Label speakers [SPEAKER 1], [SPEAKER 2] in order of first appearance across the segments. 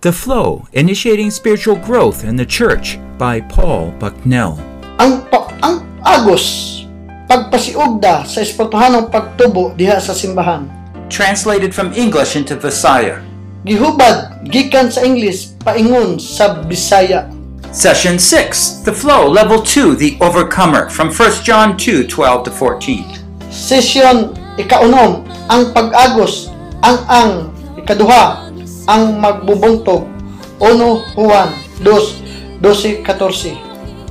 [SPEAKER 1] The Flow Initiating Spiritual Growth in the Church by Paul Bucknell.
[SPEAKER 2] ang pa, ang agos pagpasiugda sa espirituhanong pagtubo diha sa simbahan
[SPEAKER 3] Translated from English into Visaya.
[SPEAKER 2] gihubad gikan sa English paingon sa Bisaya
[SPEAKER 3] Session 6, The Flow, Level 2, The Overcomer, from 1 John 2, 12 to 14.
[SPEAKER 2] session ikaunom ang pag-agos ang ang ikaduha ang magbubuntog 1 Juan 2 12 14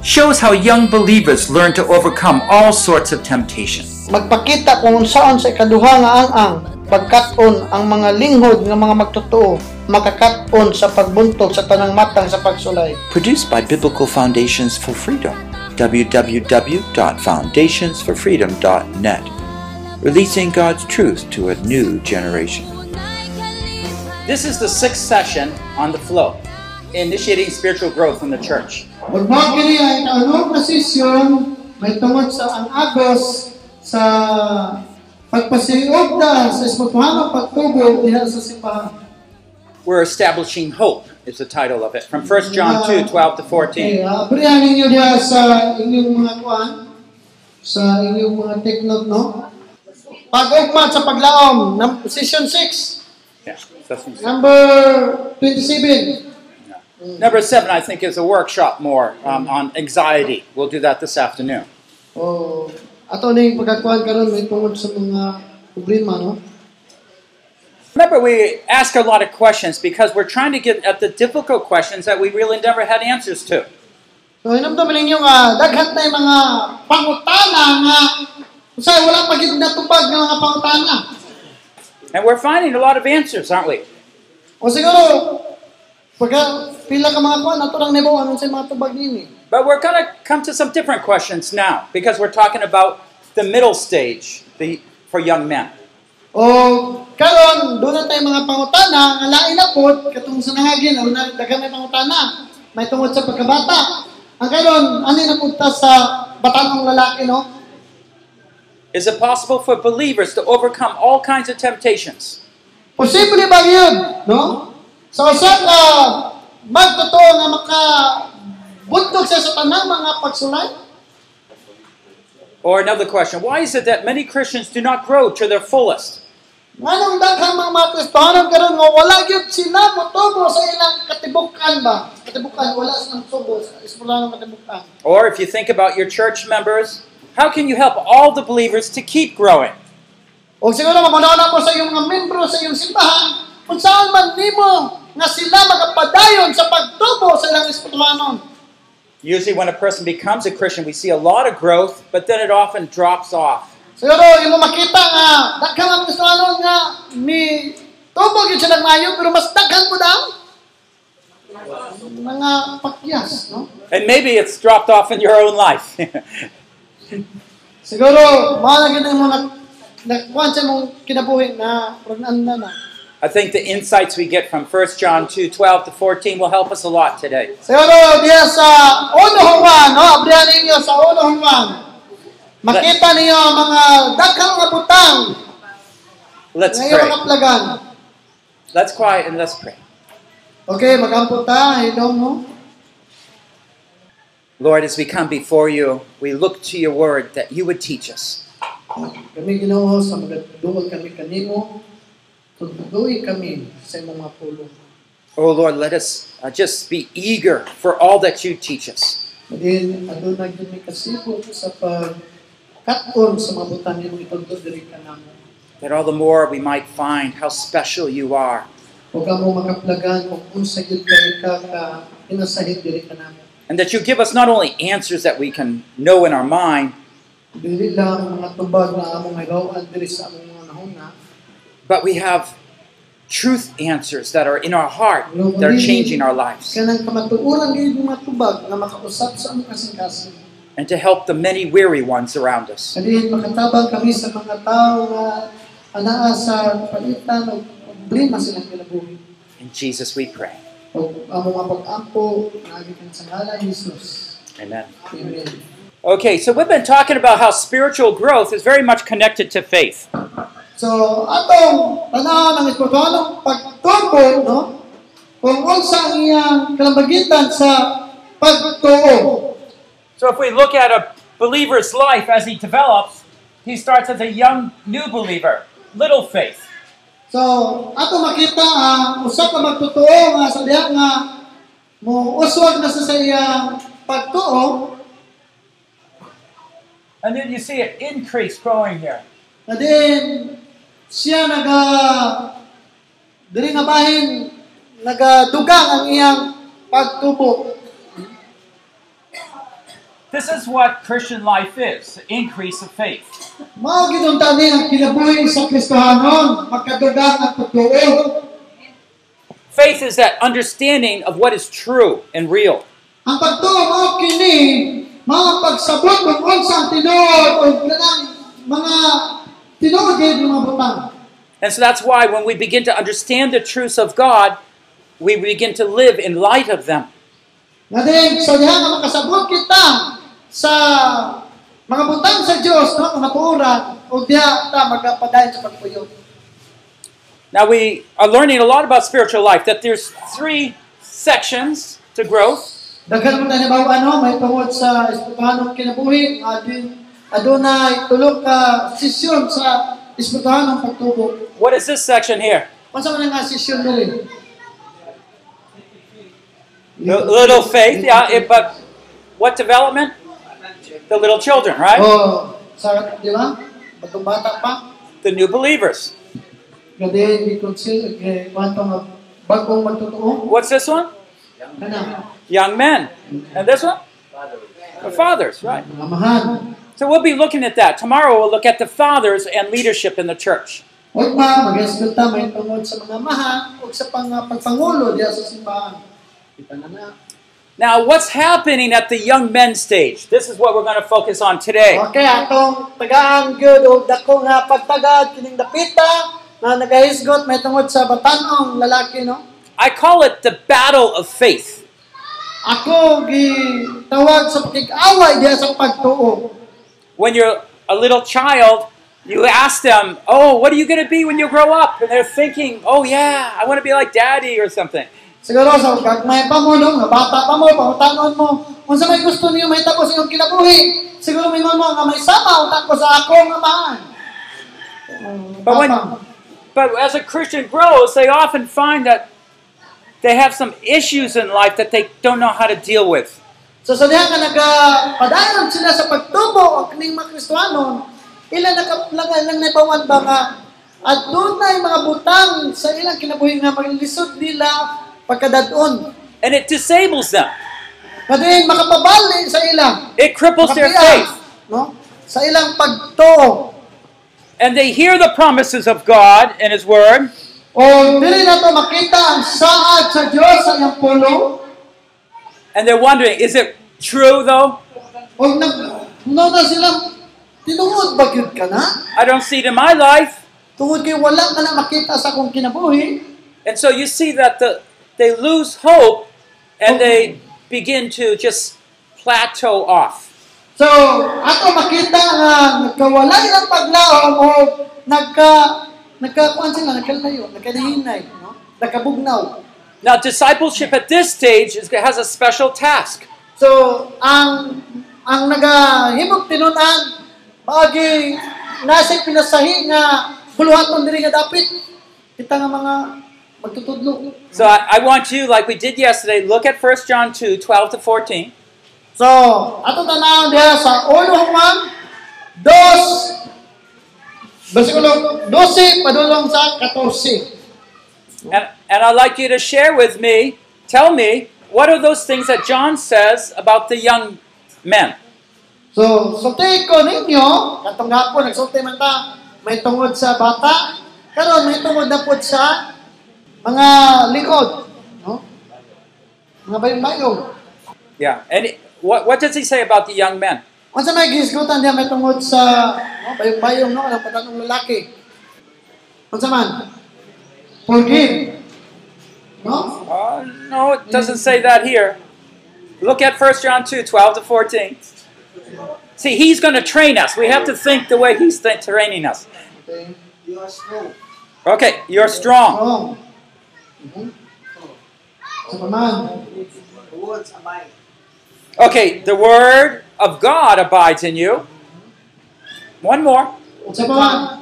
[SPEAKER 3] Shows how young believers learn to overcome all sorts of temptation.
[SPEAKER 2] magpakita kung unsaon sa ikaduha nga ang ang pagkaton ang mga linghod nga mga magtotoo makakaton sa pagbuntog sa tanang matang sa pagsulay
[SPEAKER 4] produced by Biblical Foundations for Freedom, www.foundationsforfreedom.net, releasing God's truth to a new generation.
[SPEAKER 3] This is the sixth session on The Flow, Initiating Spiritual Growth in the Church.
[SPEAKER 5] Magmahal kini ay kaunong posisyon may tungod sa ang agos sa pagpasiog na sa espirituhanong pagtubo diha sa simbahan.
[SPEAKER 3] We're establishing hope, is the title of it, from 1 John 2, 12 to 14.
[SPEAKER 5] Okay, uh, abrihan ninyo diha sa inyong mga kuan, sa inyong mga take note, no?
[SPEAKER 2] Pag-ugma sa paglaom, nam- session 6,
[SPEAKER 3] Yeah, session six.
[SPEAKER 2] number 27.
[SPEAKER 3] Number seven, I think, is a workshop more um, on anxiety. We'll do that this afternoon.
[SPEAKER 2] Oh, ato na yung pagkakuhan karon may tungod sa mga problema, no?
[SPEAKER 3] Remember, we ask a lot of questions because we're trying to get at the difficult questions that we really never had answers to.
[SPEAKER 2] So, inamdaman ninyo nga, daghan tayong mga pangutana nga, usay wala pa gid natupad nga mga pangutana.
[SPEAKER 3] And we're finding a lot of answers, aren't we?
[SPEAKER 2] O siguro, pagka pila ka mga kuhan, ato lang nibo, anong sa mga tubag nini?
[SPEAKER 3] But we're going to come to some different questions now because we're talking about the middle stage the, for young men.
[SPEAKER 2] O, karon doon na tayong mga pangutana, nga lain na po, katong sa nahagin, ang na- daghan may pangutana, may tungod sa pagkabata. Ang karon, ano yung napunta sa batanong lalaki, no?
[SPEAKER 3] Is it possible for believers to overcome all kinds of temptations?
[SPEAKER 2] Posible ba yun, no? Sa usap ka, magtotoo nga maka buntog siya sa tanang mga pagsulay?
[SPEAKER 3] Or another question why is it that many Christians do not grow to their fullest?
[SPEAKER 2] Nganong daghang mga mga Kristohanon karon nga wala gyud sila motubo sa ilang katibukan ba? Katibukan wala silang tubo sa ispula ng katibukan.
[SPEAKER 3] Or if you think about your church members, how can you help all the believers to keep growing?
[SPEAKER 2] O siguro mamunaw mo sa iyong mga membro sa iyong simbahan kung saan man nimo nga sila magapadayon sa pagtubo sa ilang espirituanon.
[SPEAKER 3] Usually, when a person becomes a Christian, we see a lot of growth, but then it often drops off.
[SPEAKER 2] Siguro imo makita nga daghang ang espirituanon nga ni tubo gyud sila mayo pero mas daghan po daw mga pakyas, no?
[SPEAKER 3] And maybe it's dropped off in your own life.
[SPEAKER 2] Siguro mao na gyud ang mga nakuan sa mong kinabuhi na rugnan na na.
[SPEAKER 3] I think the insights we get from 1 John 2 12 to 14 will help us a lot today.
[SPEAKER 2] Siguro diya sa uno Juan, no? Abrihan ninyo sa uno Juan. Makita ninyo ang mga daghang nga butang
[SPEAKER 3] Let's
[SPEAKER 2] Ngayon
[SPEAKER 3] pray.
[SPEAKER 2] mga plagan.
[SPEAKER 3] Let's quiet and let's pray.
[SPEAKER 2] Okay, magampo ta, ilong mo.
[SPEAKER 3] Lord, as we come before you, we look to your word that you would teach us.
[SPEAKER 2] Kami ginoo sa magduol kami kanimo. Tugduoy kami sa imong mga pulong.
[SPEAKER 3] Oh Lord, let us uh, just be eager for all that you teach us.
[SPEAKER 2] Madin, aduna gyud mi kasibot sa pag katon sa mga butang imong itugdo diri kanamo.
[SPEAKER 3] That all the more we might find how special you are
[SPEAKER 2] Huwag ka mo makaplagan kung unsa gyud kay ka ka inasahid diri kanamo.
[SPEAKER 3] and that you give us not only answers that we can know in our mind,
[SPEAKER 2] Dili lang ang mga tubag na among hilawan diri sa among mga nahuna.
[SPEAKER 3] but we have truth answers that are in our heart that are changing our lives.
[SPEAKER 2] Kanang kamatuoran gyud mga tubag na makausap sa among kasing-kasing.
[SPEAKER 3] And to help the many weary ones around us.
[SPEAKER 2] Kadihin makatabang kami sa mga tao nga anaa sa palitan o problema silang kinabuhi.
[SPEAKER 3] In Jesus we pray.
[SPEAKER 2] O among mga pag-ampo, naagi kang sa ngalan ni Jesus.
[SPEAKER 3] Amen.
[SPEAKER 2] Amen.
[SPEAKER 3] Okay, so we've been talking about how spiritual growth is very much connected to faith.
[SPEAKER 2] So, atong tanaw ng espiritualong pagtubo, no? kung unsa ang iyang kalambagitan sa pagtuo.
[SPEAKER 3] So if we look at a believer's life as he develops, he starts as a young new believer, little faith.
[SPEAKER 2] So, ato makita ang usa ka magtutuo nga sa diha nga mo uswag na sa sa iyang pagtuo
[SPEAKER 3] And then you see an increase growing here.
[SPEAKER 2] na din siya naga diri na bahin nagadugang ang iyang pagtubo.
[SPEAKER 3] This is what Christian life is, the increase of faith.
[SPEAKER 2] Mao gid unta ni ang kinabuhi sa Kristohanon, magkadugang ang pagtuo.
[SPEAKER 3] Faith is that understanding of what is true and real.
[SPEAKER 2] Ang pagtuo mao kini mga pagsabot kung unsa ang tinuod o kanang mga tinuod gyud nga mga butang.
[SPEAKER 3] And so that's why when we begin to understand the truths of God, we begin to live in light of them.
[SPEAKER 2] Nga din sa diha nga makasabot kita sa mga butang sa Dios no nga natuoran o diha ta magapadayon sa pagpuyo.
[SPEAKER 3] Now we are learning a lot about spiritual life that there's three sections to growth.
[SPEAKER 2] Daghan mo tayo bawo ano may tungod sa espirituhanong kinabuhi adin adunay tulo ka sesyon sa espirituhanong pagtubo.
[SPEAKER 3] What is this section here?
[SPEAKER 2] Unsa man nga sesyon diri?
[SPEAKER 3] The little faith, yeah, it, but what development? The little children, right?
[SPEAKER 2] Oh, sa di ba? Batong bata pa.
[SPEAKER 3] The new believers.
[SPEAKER 2] Gabi, di consider, kay kuhan pa mag, eh, bagong magtotoo.
[SPEAKER 3] What's this one?
[SPEAKER 2] Kana,
[SPEAKER 3] Young men. And this one? The fathers, right?
[SPEAKER 2] mga mahal.
[SPEAKER 3] So we'll be looking at that. Tomorrow we'll look at the fathers and leadership in the church.
[SPEAKER 2] Huwag ma, mag-escort ta, may tungod sa mga mahal, o sa pang, pagpangulo diya sa simbahan. Kita na na.
[SPEAKER 3] Now, what's happening at the young men stage? This is what we're going to focus on today.
[SPEAKER 2] Okay, atong tagaan good o dako nga pagtagad, kining dapita, na nagahisgot, may tungod sa batanong lalaki, no?
[SPEAKER 3] I call it the battle of faith.
[SPEAKER 2] Ako, gitawag sa pakikaway diya sa pagtuo.
[SPEAKER 3] When you're a little child, you ask them, Oh, what are you going to be when you grow up? And they're thinking, Oh, yeah, I want to be like daddy or something.
[SPEAKER 2] Siguro sa gagmay pa mo, no? Nga bata pa mo, pangutanon mo. Kung sa may gusto niyo, may tapos inyong kinabuhi. Siguro may mga nga may sama, utang ko sa akong amahan.
[SPEAKER 3] But when, but as a Christian grows, they often find that they have some issues in life that they don't know how to deal with.
[SPEAKER 2] So sa diha nga nagapadayon sila sa pagtubo o kaning mga Kristwanon, ilan nakaplagan lang naipawan ba nga at dunay mga butang sa ilang kinabuhi nga maglilisod nila pagkadadon.
[SPEAKER 3] And it disables them,
[SPEAKER 2] Nga din makapabali sa ilang.
[SPEAKER 3] it cripples their
[SPEAKER 2] Makapiya,
[SPEAKER 3] faith.
[SPEAKER 2] no? Sa ilang pagtuo.
[SPEAKER 3] And they hear the promises of God and His Word,
[SPEAKER 2] O dili na to makita ang saad sa Dios sa iyang pulo.
[SPEAKER 3] and they're wondering, is it true though?
[SPEAKER 2] O nag no na sila tinuod ba gyud ka na?
[SPEAKER 3] I don't see it in my life.
[SPEAKER 2] Tungod kay wala ka na makita sa akong kinabuhi.
[SPEAKER 3] And so you see that the, they lose hope and they begin to just plateau off.
[SPEAKER 2] So, ato makita nga nagkawalay ang paglaom o nagka nagkakuan sila, nagkalayo, nagkanahinay, no? Nagkabugnaw.
[SPEAKER 3] Now, discipleship at this stage is, has a special task.
[SPEAKER 2] So, ang ang nagahimog tinunan maagi nasa pinasahi nga buluhaton diri nga dapit kita nga mga magtutudlo.
[SPEAKER 3] So I, I want you, like we did yesterday, look at 1 John 2 12 to 14.
[SPEAKER 2] So, ato tanaw diha sa ulo Juan dos bersikulo 12 padulong sa 14.
[SPEAKER 3] And, and I'd like you to share with me, tell me, what are those things that John says about the young men?
[SPEAKER 2] So, sulti ko ninyo, katong hapon nagsulti man ta, may tungod sa bata, karon may tungod na po sa mga likod, no? Mga bayong-bayong.
[SPEAKER 3] Yeah. And it- what, what does he say about the young men?
[SPEAKER 2] Unsa may gisgutan diha may tungod sa no, bayong-bayong no, ang patanong lalaki. Unsa man? Forgive. No?
[SPEAKER 3] Oh, no, it doesn't say that here. Look at 1 John 2 12 to 14. See, he's going to train us. We have to think the way he's th- training us. Okay, you're strong.
[SPEAKER 2] Wrong. sa pamahan.
[SPEAKER 5] The words abide.
[SPEAKER 3] Okay, the word of God abides in you. One more.
[SPEAKER 2] At sa pamahan,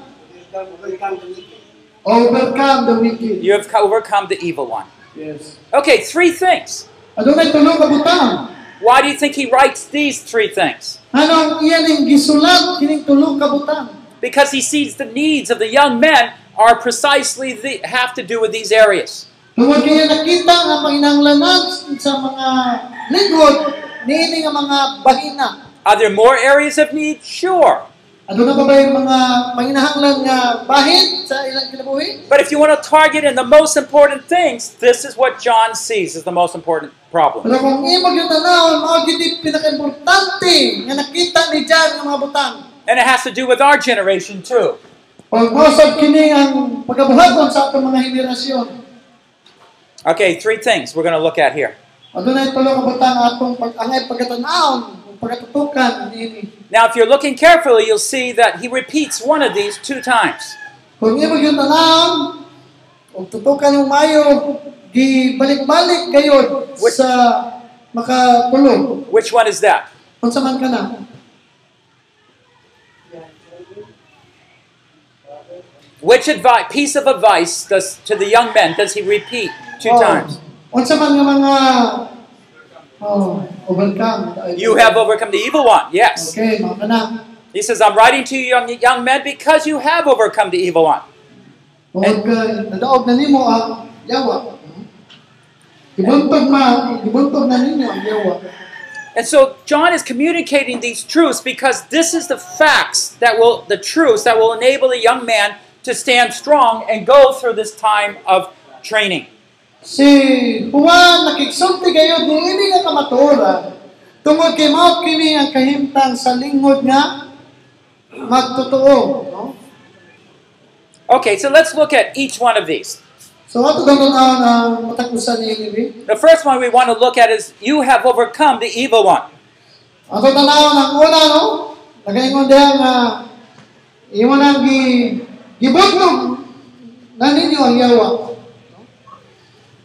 [SPEAKER 5] Welcome to me.
[SPEAKER 2] overcome the wicked.
[SPEAKER 3] You have co- overcome the evil one.
[SPEAKER 2] Yes.
[SPEAKER 3] Okay, three things.
[SPEAKER 2] Adunay tulong ka butang.
[SPEAKER 3] Why do you think he writes these three things?
[SPEAKER 2] Anong iyan Ano ang gisulat kining tulong ka butang?
[SPEAKER 3] Because he sees the needs of the young men are precisely the, have to do with these areas.
[SPEAKER 2] Tungod kaya nakita nga panginanglanan sa mga lingkod niini nga mga bahina.
[SPEAKER 3] Are there more areas of need? Sure.
[SPEAKER 2] Ano na ba ba yung mga panginahanglan nga bahin sa ilang kinabuhi?
[SPEAKER 3] But if you want to target in the most important things, this is what John sees as the most important problem.
[SPEAKER 2] Pero kung imog yung tanaw, mga gidi pinaka-importante nga nakita ni John ng mga butang.
[SPEAKER 3] And it has to do with our generation too.
[SPEAKER 2] Pag mausap kini ang pagkabuhagon sa atong mga henerasyon,
[SPEAKER 3] Okay, three things we're going to look at here.
[SPEAKER 2] ano na itulo ka butang atong pag-angay pagkatanaw, ang pagkatutukan niini.
[SPEAKER 3] Now, if you're looking carefully, you'll see that he repeats one of these two times.
[SPEAKER 2] Kung imog yung tanaw, kung tutukan yung mayo, gibalik-balik kayo sa makatulong.
[SPEAKER 3] Which one is that?
[SPEAKER 2] Kung man ka na.
[SPEAKER 3] Which advi- piece of advice does to the young men does he repeat two
[SPEAKER 2] Oh.
[SPEAKER 3] times?
[SPEAKER 2] Unsa man nga mga oh, overcome.
[SPEAKER 3] You have overcome the evil one. Yes.
[SPEAKER 2] Okay, mga kana.
[SPEAKER 3] He says, I'm writing to you, young, young men, because you have overcome the evil one.
[SPEAKER 2] Huwag ka, nadaog na nimo ang yawa. Gibuntog ma, gibuntog na ninyo ang yawa.
[SPEAKER 3] And so John is communicating these truths because this is the facts that will, the truths that will enable a young man to stand strong and go through this time of training.
[SPEAKER 2] Si Juan nakigsulti kayo niini nga kamatura. Tungod kay mao kini ang kahimtang sa lingod nga magtotoo, no?
[SPEAKER 3] Okay, so let's look at each one of these.
[SPEAKER 2] So ato danon ang matakusan ni Ibi.
[SPEAKER 3] The first one we want to look at is you have overcome the evil one.
[SPEAKER 2] Ang tanaw ng una, no? Nagaingon diha nga imo nang gi gibuntog na ninyo ang yawa.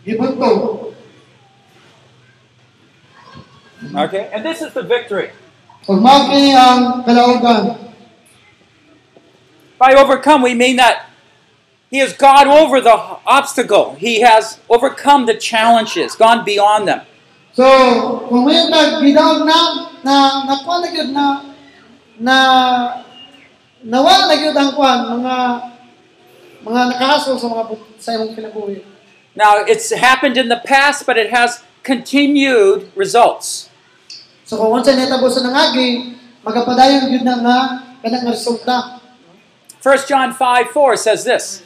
[SPEAKER 2] Gibuntog.
[SPEAKER 3] Okay? And this is the victory.
[SPEAKER 2] Kung mao kini ang kalaugan,
[SPEAKER 3] By overcome, we mean that he has gone over the obstacle. He has overcome the challenges, gone beyond them.
[SPEAKER 2] So, kung may tag gidaog na na nakuha na gyud na na nawa na gyud ang kuan mga mga nakahaso sa mga bu- sa imong kinabuhi.
[SPEAKER 3] Now, it's happened in the past, but it has continued results.
[SPEAKER 2] So kung unsa nahitabo sa nangagi, magapadayon gyud na nga kanang resulta.
[SPEAKER 3] 1 John 5 4 says this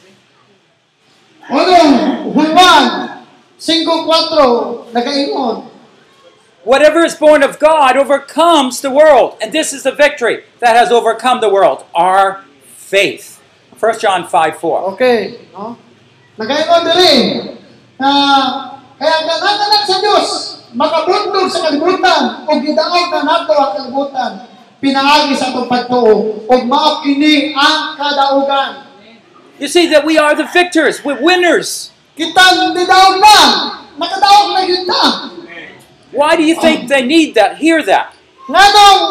[SPEAKER 2] Unong Juan 5.4 nakaingon.
[SPEAKER 3] Whatever is born of God overcomes the world. And this is the victory that has overcome the world our faith. 1 John 5 4.
[SPEAKER 2] Okay, no? Nakaingon diri. Na Ah, kaya ang anak sa Dios makabuntog sa kalibutan ug gidaog na nato ang kalibutan pinaagi sa atong pagtuo ug mao kini ang kadaugan.
[SPEAKER 3] You see that we are the victors, we're winners.
[SPEAKER 2] Kitang didaog na, nakadaog na gyud ta.
[SPEAKER 3] Why do you think they need that, hear that?
[SPEAKER 2] Nganong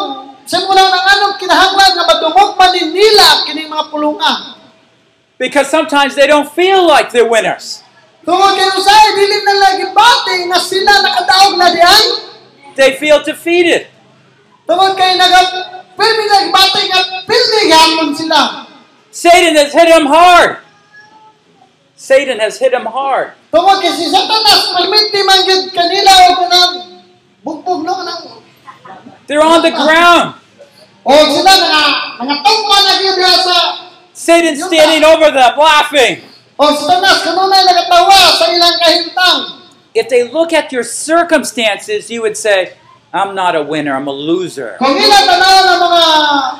[SPEAKER 2] simula na anong kinahanglan nga madungog man ni nila kining mga pulungan?
[SPEAKER 3] Because sometimes they don't feel like they're winners.
[SPEAKER 2] Tungod kay usay dili na lagi bati nga sila nakadaog na diyan.
[SPEAKER 3] They feel defeated.
[SPEAKER 2] Tungod kay naga pwede na gibati nga pili gamon sila.
[SPEAKER 3] Satan has hit him hard. Satan has hit him hard.
[SPEAKER 2] Tungod kay si Satanas permiti man gyud kanila og nang bugbog no nang
[SPEAKER 3] They're on the ground.
[SPEAKER 2] o sila nga mga tungpa na gyud diha sa
[SPEAKER 3] Satan's standing over them, laughing.
[SPEAKER 2] o Satanas kanunay nagatawa sa ilang kahintang.
[SPEAKER 3] If they look at your circumstances, you would say, I'm not a winner, I'm a loser.
[SPEAKER 2] Kung ila tanaw ng mga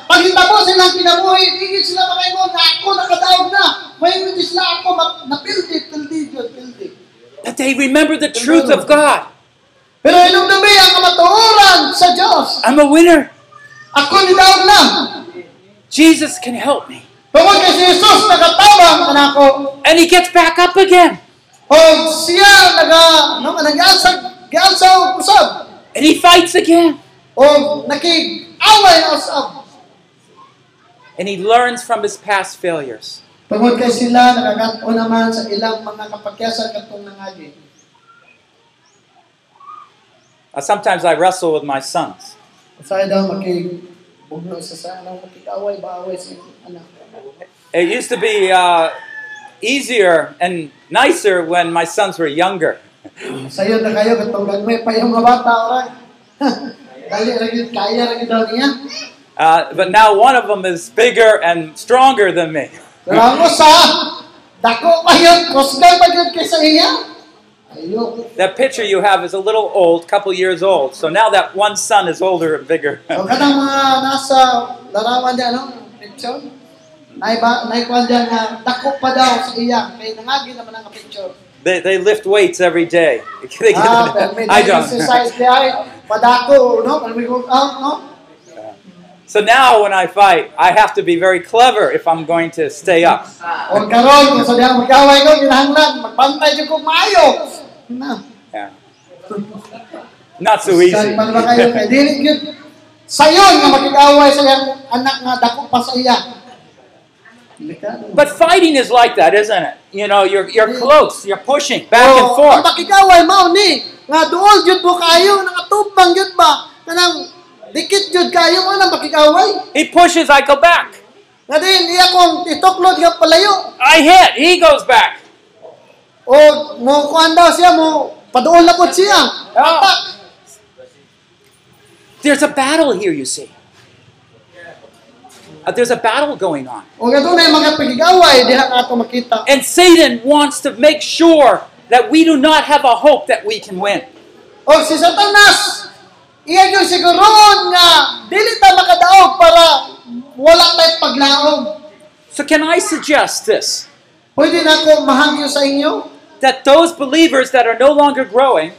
[SPEAKER 2] paghitabo silang kinabuhi, igit sila makaingon nga ako nakadaog na. May hindi sila ako ma- napildi, pildi, pildi. pildi.
[SPEAKER 3] But they remember the truth of God.
[SPEAKER 2] Pero inyong gabi ang kamatuoran sa Diyos.
[SPEAKER 3] I'm a winner.
[SPEAKER 2] Ako ni Daog na.
[SPEAKER 3] Jesus can help me.
[SPEAKER 2] Tungkol kay si Jesus nakatabang kanako.
[SPEAKER 3] And he gets back up again.
[SPEAKER 2] O siya naga, ano, no, nag-alsag, gialsa o kusab.
[SPEAKER 3] And he fights again.
[SPEAKER 2] O nakig-away na usab.
[SPEAKER 3] And he learns from his past failures.
[SPEAKER 2] Tungod kay sila, nakagato naman sa ilang mga kapakyasan katong nangagi.
[SPEAKER 3] Uh, sometimes I wrestle with my sons.
[SPEAKER 2] Sa daw, makig, bugno sa sa anong makig-away ba away sa inyong anak.
[SPEAKER 3] It used to be uh, easier and nicer when my sons were younger.
[SPEAKER 2] Sayo na kayo, katong gagmay pa yung mga bata, oray. Kaya lagi, kaya lagi daw niya.
[SPEAKER 3] Uh, but now one of them is bigger and stronger than me.
[SPEAKER 2] Pero ako sa, dako pa yun, kusgay pa yun kaysa iya. Ayoko.
[SPEAKER 3] That picture you have is a little old, couple years old. So now that one son is older and bigger.
[SPEAKER 2] So, kanang mga nasa larawan niya, no? Picture? Nay ba, nay kwan diyan na dako pa daw sa iya. Kay nangagi naman ang picture.
[SPEAKER 3] They, they lift weights every day. They get-
[SPEAKER 2] Ah, pero may
[SPEAKER 3] I don't.
[SPEAKER 2] exercise niya ay padako, no? Pero may work out, no?
[SPEAKER 3] So now when I fight, I have to be very clever if I'm going to stay up.
[SPEAKER 2] O karon kung sa diyan magkaway ko, kinahanglan magbantay jud ko maayo. Na.
[SPEAKER 3] Yeah. Not so
[SPEAKER 2] Kay
[SPEAKER 3] easy.
[SPEAKER 2] man ba kayo kay dili gyud sayon nga makigaway sa iyang anak nga dako pa sa iya.
[SPEAKER 3] But fighting is like that, isn't it? You know, you're, you're close, you're pushing back and
[SPEAKER 2] Oh, ang
[SPEAKER 3] forth.
[SPEAKER 2] pakigaway mao ni nga duol jud mo kayo nakatubang jud ba kanang dikit jud kayo mo nang pakigaway
[SPEAKER 3] He pushes, I go back.
[SPEAKER 2] nga din iya kong ituklod nga palayo
[SPEAKER 3] I hit, he goes back.
[SPEAKER 2] o mo kuan daw siya mo paduol na pod siya Atak.
[SPEAKER 3] There's a battle here, you see. Uh, there's a battle going on.
[SPEAKER 2] o nga dunay mga pakigaway diha ato makita
[SPEAKER 3] And Satan wants to make sure that we do not have a hope that we can win.
[SPEAKER 2] o si Satanas iya jud siguroon nga dili ta makadaog para wala tay paglaom
[SPEAKER 3] So, can I suggest this?
[SPEAKER 2] pwede na ko mahangyo sa inyo
[SPEAKER 3] That those believers that are no longer growing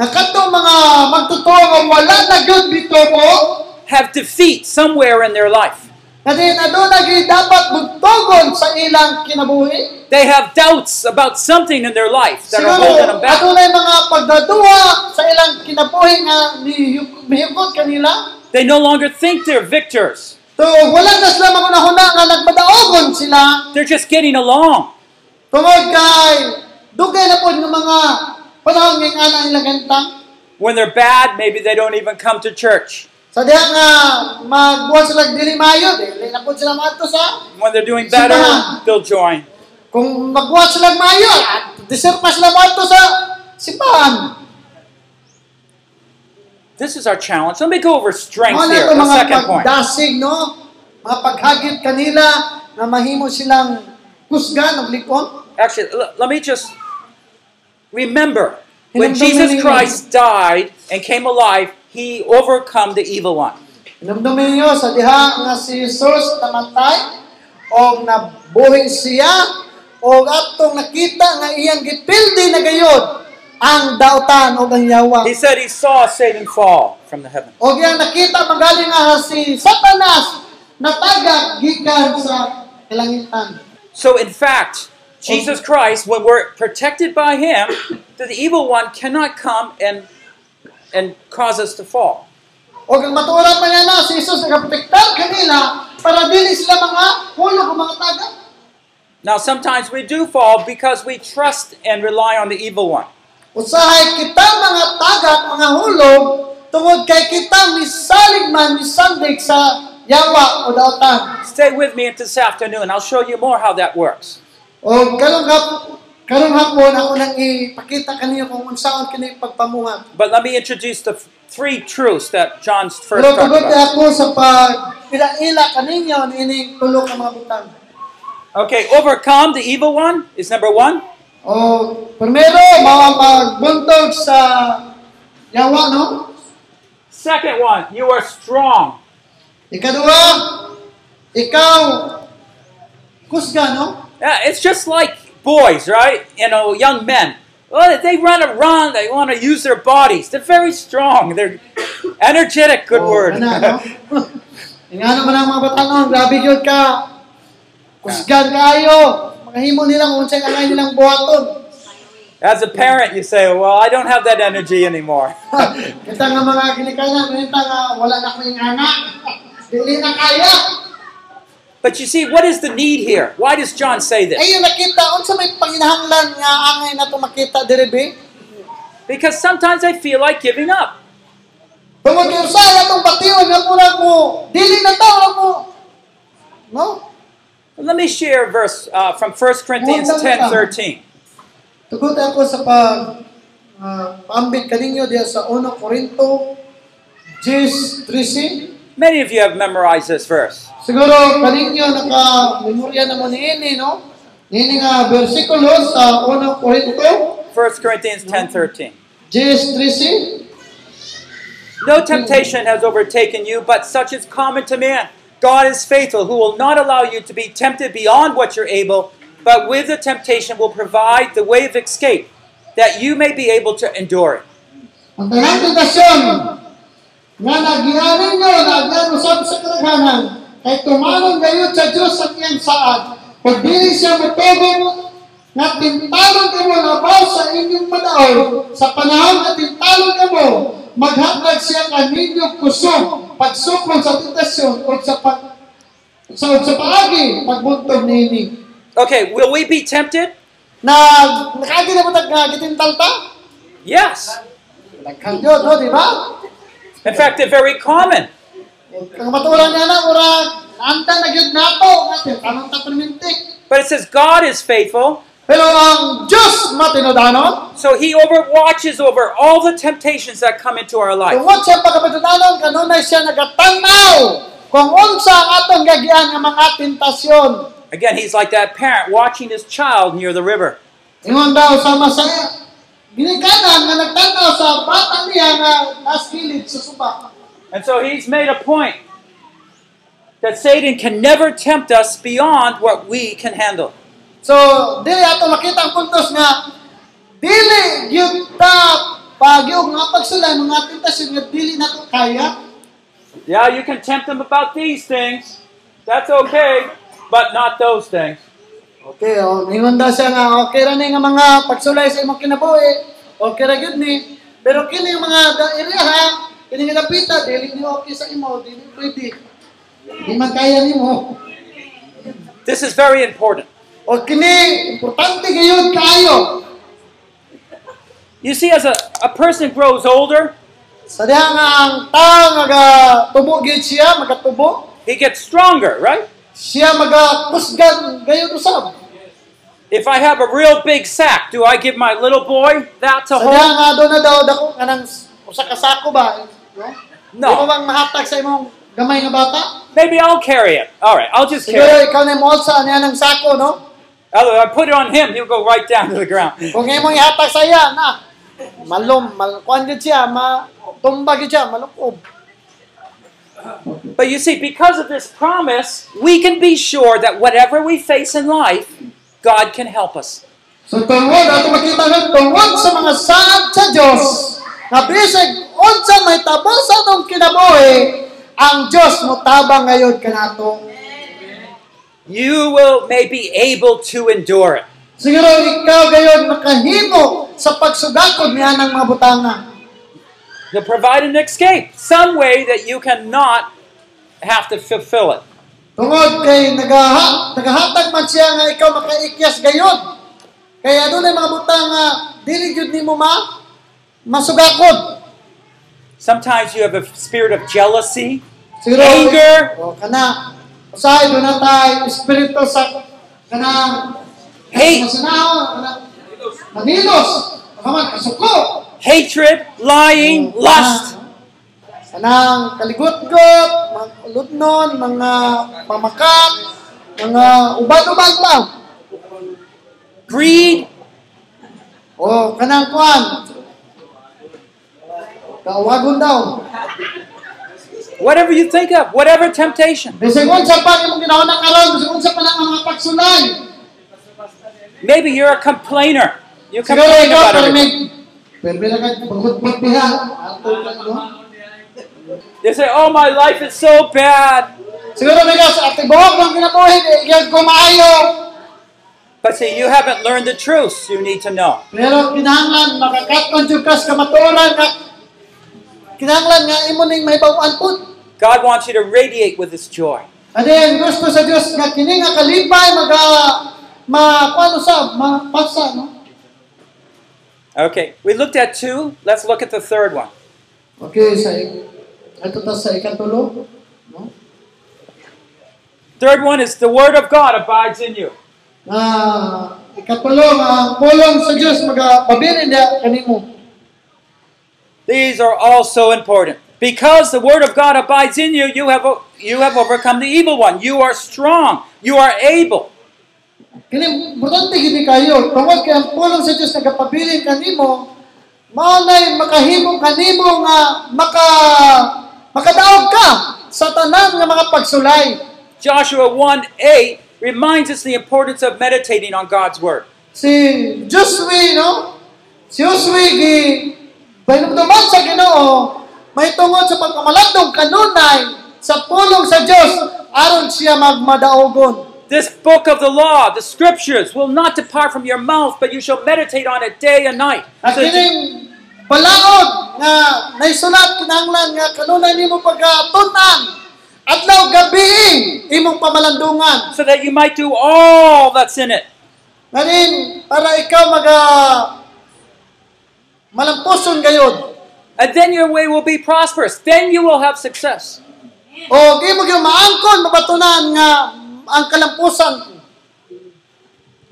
[SPEAKER 2] nga kadto mga magtotoo nga wala na gyud bitubo
[SPEAKER 3] have defeat somewhere in their life.
[SPEAKER 2] Kasi na doon naging dapat magtugon sa ilang kinabuhi.
[SPEAKER 3] They have doubts about something in their life that are holding
[SPEAKER 2] Siguro,
[SPEAKER 3] them back.
[SPEAKER 2] ato na yung mga pagdaduwa sa ilang kinabuhi nga nihikot kanila.
[SPEAKER 3] They no longer think they're victors.
[SPEAKER 2] So, wala na sila magunahuna nga nagmadaogon sila.
[SPEAKER 3] They're just getting along.
[SPEAKER 2] Tungod kay, dugay na po ng mga panahon ng anak nila gantang.
[SPEAKER 3] When they're bad, maybe they don't even come to church.
[SPEAKER 2] Sa diha nga, magbuwan sila ng dili mayo, dili na po sila mato sa.
[SPEAKER 3] When they're doing better, they'll join.
[SPEAKER 2] Kung magbuwan sila ng mayo, deserve pa sila mato sa sipahan.
[SPEAKER 3] This is our challenge. Let me go over strength
[SPEAKER 2] Ano
[SPEAKER 3] here,
[SPEAKER 2] ito
[SPEAKER 3] the
[SPEAKER 2] mga
[SPEAKER 3] second point.
[SPEAKER 2] pagdasig, no? Mga paghagit kanila na mahimo silang kusgan o likon.
[SPEAKER 3] Actually, l- let me just remember when
[SPEAKER 2] Remember
[SPEAKER 3] Jesus
[SPEAKER 2] me.
[SPEAKER 3] Christ died and came alive, he overcome the evil one.
[SPEAKER 2] Inumdumin niyo sa diha nga si Jesus namatay o nabuhi siya o atong nakita nga iyang gipildi na gayod ang dautan o ang yawa.
[SPEAKER 3] He said he saw Satan fall from the heaven.
[SPEAKER 2] O iyang nakita magaling nga si Satanas nataga gikan sa kalangitan.
[SPEAKER 3] So, in fact, Jesus Christ, when we're protected by him, the evil one cannot come and and cause us to fall.
[SPEAKER 2] O ang matuuran pa niya na si Jesus nagaprotektar kanila para dili sila mga hulog o mga taga.
[SPEAKER 3] Now, sometimes we do fall because we trust and rely on the evil one.
[SPEAKER 2] Usahay kita mga taga at mga hulog tungod kay kita misalig man misandig sa yawa o dautan.
[SPEAKER 3] Stay with me until this afternoon. I'll show you more how that works.
[SPEAKER 2] O karong hap karong hapon ako nang ipakita kaniyo kung unsaon kini pagpamuhat.
[SPEAKER 3] But let me introduce the f- three truths that John's first
[SPEAKER 2] Pero
[SPEAKER 3] talked
[SPEAKER 2] tugod kay
[SPEAKER 3] about.
[SPEAKER 2] ako sa pag ila kaninyo ni ining tulo ka mga butang.
[SPEAKER 3] Okay, overcome the evil one is number one.
[SPEAKER 2] O primero mga pagbuntog sa yawa no?
[SPEAKER 3] Second one, you are strong.
[SPEAKER 2] Ikadua, ikaw, kusga, no?
[SPEAKER 3] Yeah, it's just like boys, right? You know, young men. Well, they run around. They want to use their bodies. They're very strong. They're energetic.
[SPEAKER 2] Oh,
[SPEAKER 3] Good word.
[SPEAKER 2] Ano, no? Yung ano man ang mga batanong, grabe yun ka. Kusgan kayo. Makahimo nilang unsay angay nilang buhaton.
[SPEAKER 3] As a parent, you say, Well, I don't have that energy anymore.
[SPEAKER 2] Kita nga mga ginikanan, kita nga wala na kaming anak. Dili na kaya.
[SPEAKER 3] But you see, what is the need here? Why does John say this?
[SPEAKER 2] Ayun nakita unsa may panginahanglan nga angay nato makita diri be?
[SPEAKER 3] Because sometimes I feel like giving up.
[SPEAKER 2] Tungod kay usay atong bation nga pura ko dili na ta ra mo. No?
[SPEAKER 3] Let me share a verse uh, from 1 Corinthians
[SPEAKER 2] Well,
[SPEAKER 3] ten
[SPEAKER 2] that's-
[SPEAKER 3] thirteen.
[SPEAKER 2] Tugod ako sa pag uh, paambit kaninyo diya sa 1 Corinto 10:13.
[SPEAKER 3] Many of you have memorized this verse.
[SPEAKER 2] Siguro kaninyo naka memorya na mo niini no? Niini nga bersikulo sa 1 Corinto
[SPEAKER 3] 1 Corinthians ten thirteen.
[SPEAKER 2] 10:13.
[SPEAKER 3] No temptation has overtaken you, but such is common to man. God is faithful, who will not allow you to be tempted beyond what you're able, but with the temptation will provide the way of escape, that you may be able to endure it.
[SPEAKER 2] Ang tanang tentasyon nga nagianin nyo, nagianin usab sa kadaghanan, kay tumanon kayo sa Diyos sa iyang saad. Kung dili siya matubong nga tintalon ka mo na baw sa inyong madaol, sa panahon na tintalon ka mo, maghatag siya kaninyo kusog, pagsupon sa tentasyon, o sa pag sa, sa paagi, pagbuntog nini.
[SPEAKER 3] Okay, will we be tempted?
[SPEAKER 2] Na, nakaagi na mo nagkagitintal ta?
[SPEAKER 3] Yes.
[SPEAKER 2] Nagkagyo, no, di ba?
[SPEAKER 3] In fact, they're very common.
[SPEAKER 2] Kang maturan niya na, ura, anta na gyud nato, natin, tanong ta permintik.
[SPEAKER 3] But it says God is faithful,
[SPEAKER 2] Pero ang Diyos matinudanon,
[SPEAKER 3] so He overwatches over all the temptations that come into our life.
[SPEAKER 2] tungod siya pagkapatudanon, kanunay siya nagatanaw kung unsa ang atong gagian ang mga tentasyon.
[SPEAKER 3] Again, He's like that parent watching his child near the river.
[SPEAKER 2] Ingon daw sama sa ginikanan nga nagtanaw sa bata niya nga naskilid sa suba.
[SPEAKER 3] And so he's made a point that Satan can never tempt us beyond what we can handle.
[SPEAKER 2] So, dili ato makita ang puntos nga dili gyud ta pagyog nga pagsulay mga tentasyon nga dili nato kaya.
[SPEAKER 3] Yeah, you can tempt him about these things. That's okay, but not those things.
[SPEAKER 2] Okay, o, ningon daw siya nga, okay ra ni nga mga pagsulay sa imong kinabuhi, okay ra gyud ni. Pero kini ang mga da- area ha, kini nga napita, dili ni okay sa imo, dili pwede. Di man kaya nimo.
[SPEAKER 3] This is very important.
[SPEAKER 2] O kini, importante gayud kaayo.
[SPEAKER 3] You see, as a, a person grows older,
[SPEAKER 2] Sa diha nga ang tao nga tubo gyud siya, magatubo,
[SPEAKER 3] he gets stronger, right?
[SPEAKER 2] siya magakusgan gayud usab.
[SPEAKER 3] If I have a real big sack, do I give my little boy that to
[SPEAKER 2] Sa diha
[SPEAKER 3] hold?
[SPEAKER 2] nga do na daw dako kanang usa ka sako ba? eh, No?
[SPEAKER 3] No.
[SPEAKER 2] Di ba bang mahatag sa imong gamay nga bata?
[SPEAKER 3] Maybe I'll carry it. All right, I'll just
[SPEAKER 2] Siguro
[SPEAKER 3] carry it.
[SPEAKER 2] ikaw na yung molsa, niya ng sako, no?
[SPEAKER 3] Otherwise, I put it on him, he'll go right down to the ground.
[SPEAKER 2] Kung ngayon mong ihatag sa iya, na, malum, mal, kuhan yun siya, ma, tumba yun siya, malukob.
[SPEAKER 3] But you see, because of this promise, we can be sure that whatever we face in life, God can help us.
[SPEAKER 2] So tungod, ato makita nun, tungod sa mga saad sa Diyos, na bisag, unsa may tabang sa atong kinabuhi, ang Diyos mo tabang ngayon kanato.
[SPEAKER 3] You will may be able to endure it.
[SPEAKER 2] Siguro ikaw gayon makahimo sa pagsudakod niya ng mga butanga.
[SPEAKER 3] He'll provide an escape, some way that you cannot have to fulfill it.
[SPEAKER 2] Tungod kay nagaha, nagahatag man siya nga ikaw makaikyas gayon. Kaya doon ay mga butang nga dili gyud nimo ma masugakod.
[SPEAKER 3] Sometimes you have a spirit of jealousy,
[SPEAKER 2] Siguro
[SPEAKER 3] Anger.
[SPEAKER 2] O kana usahay doon na tay espiritu sa kana
[SPEAKER 3] Hate.
[SPEAKER 2] masanaw, kana manilos, kaman kasuko.
[SPEAKER 3] hatred, lying, lust.
[SPEAKER 2] Kanang kaligot-got, mga ulutnon, mga pamakat, mga uban-uban pa.
[SPEAKER 3] greed,
[SPEAKER 2] O kanang kuan. Kawagon daw.
[SPEAKER 3] whatever you think of, whatever temptation.
[SPEAKER 2] Bisag unsa pa imong ginawa na karon, bisag unsa pa lang ang mga pagsulay.
[SPEAKER 3] Maybe you're a complainer. You
[SPEAKER 2] Siguro
[SPEAKER 3] complain
[SPEAKER 2] ikaw
[SPEAKER 3] about
[SPEAKER 2] pero
[SPEAKER 3] everything.
[SPEAKER 2] may perbe na kag pagutbot diha. Ato lang, no?
[SPEAKER 3] They say, "Oh, my life is so bad.
[SPEAKER 2] Siguro may gas ate buhok ang ginabuhi di gyud ko maayo.
[SPEAKER 3] But see, you haven't learned the truth you need to know.
[SPEAKER 2] Pero kinahanglan makakaton jud kas kamatuoran nga kinahanglan nga imo ning mahibaw-an pud.
[SPEAKER 3] God wants you to radiate with His joy.
[SPEAKER 2] And then, gusto sa Dios nga kini nga kalipay maga ma kuano sa mapasa no.
[SPEAKER 3] Okay, we looked at two. Let's look at the third one.
[SPEAKER 2] Okay, sa ato ta sa ikatulo. No?
[SPEAKER 3] Third one is the Word of God abides in you.
[SPEAKER 2] Nga ikatulo nga ang pulong sa Dios maga babiri niya kanimo.
[SPEAKER 3] These are all so important. Because the word of God abides in you, you have you have overcome the evil one. You are strong. You are able.
[SPEAKER 2] Kini importante gini kayo tungod kay ang pulong sa Dios nagapabilin kanimo mao nay makahimo kanimo nga maka makadaog ka sa tanan nga mga pagsulay.
[SPEAKER 3] Joshua 1 8 reminds us the importance of meditating on God's word.
[SPEAKER 2] Si Joshua no? Si Joshua gi bainumduman sa Ginoo may tungod sa pagkamalandong kanunay sa pulong sa Dios aron siya magmadaogon.
[SPEAKER 3] This book of the law, the scriptures, will not depart from your mouth, but you shall meditate on it day and night.
[SPEAKER 2] At
[SPEAKER 3] So-
[SPEAKER 2] kining balaod nga naisulat kinahanglan nga kanunay nimo pagkatunan adlaw gabi imong pamalandungan.
[SPEAKER 3] so that you might do all that's in it.
[SPEAKER 2] Nganin para ikaw maga malampuson gayod.
[SPEAKER 3] And then your way will be prosperous. Then you will have success.
[SPEAKER 2] O di mo gyud maangkon mabatunan nga ang kalampusan.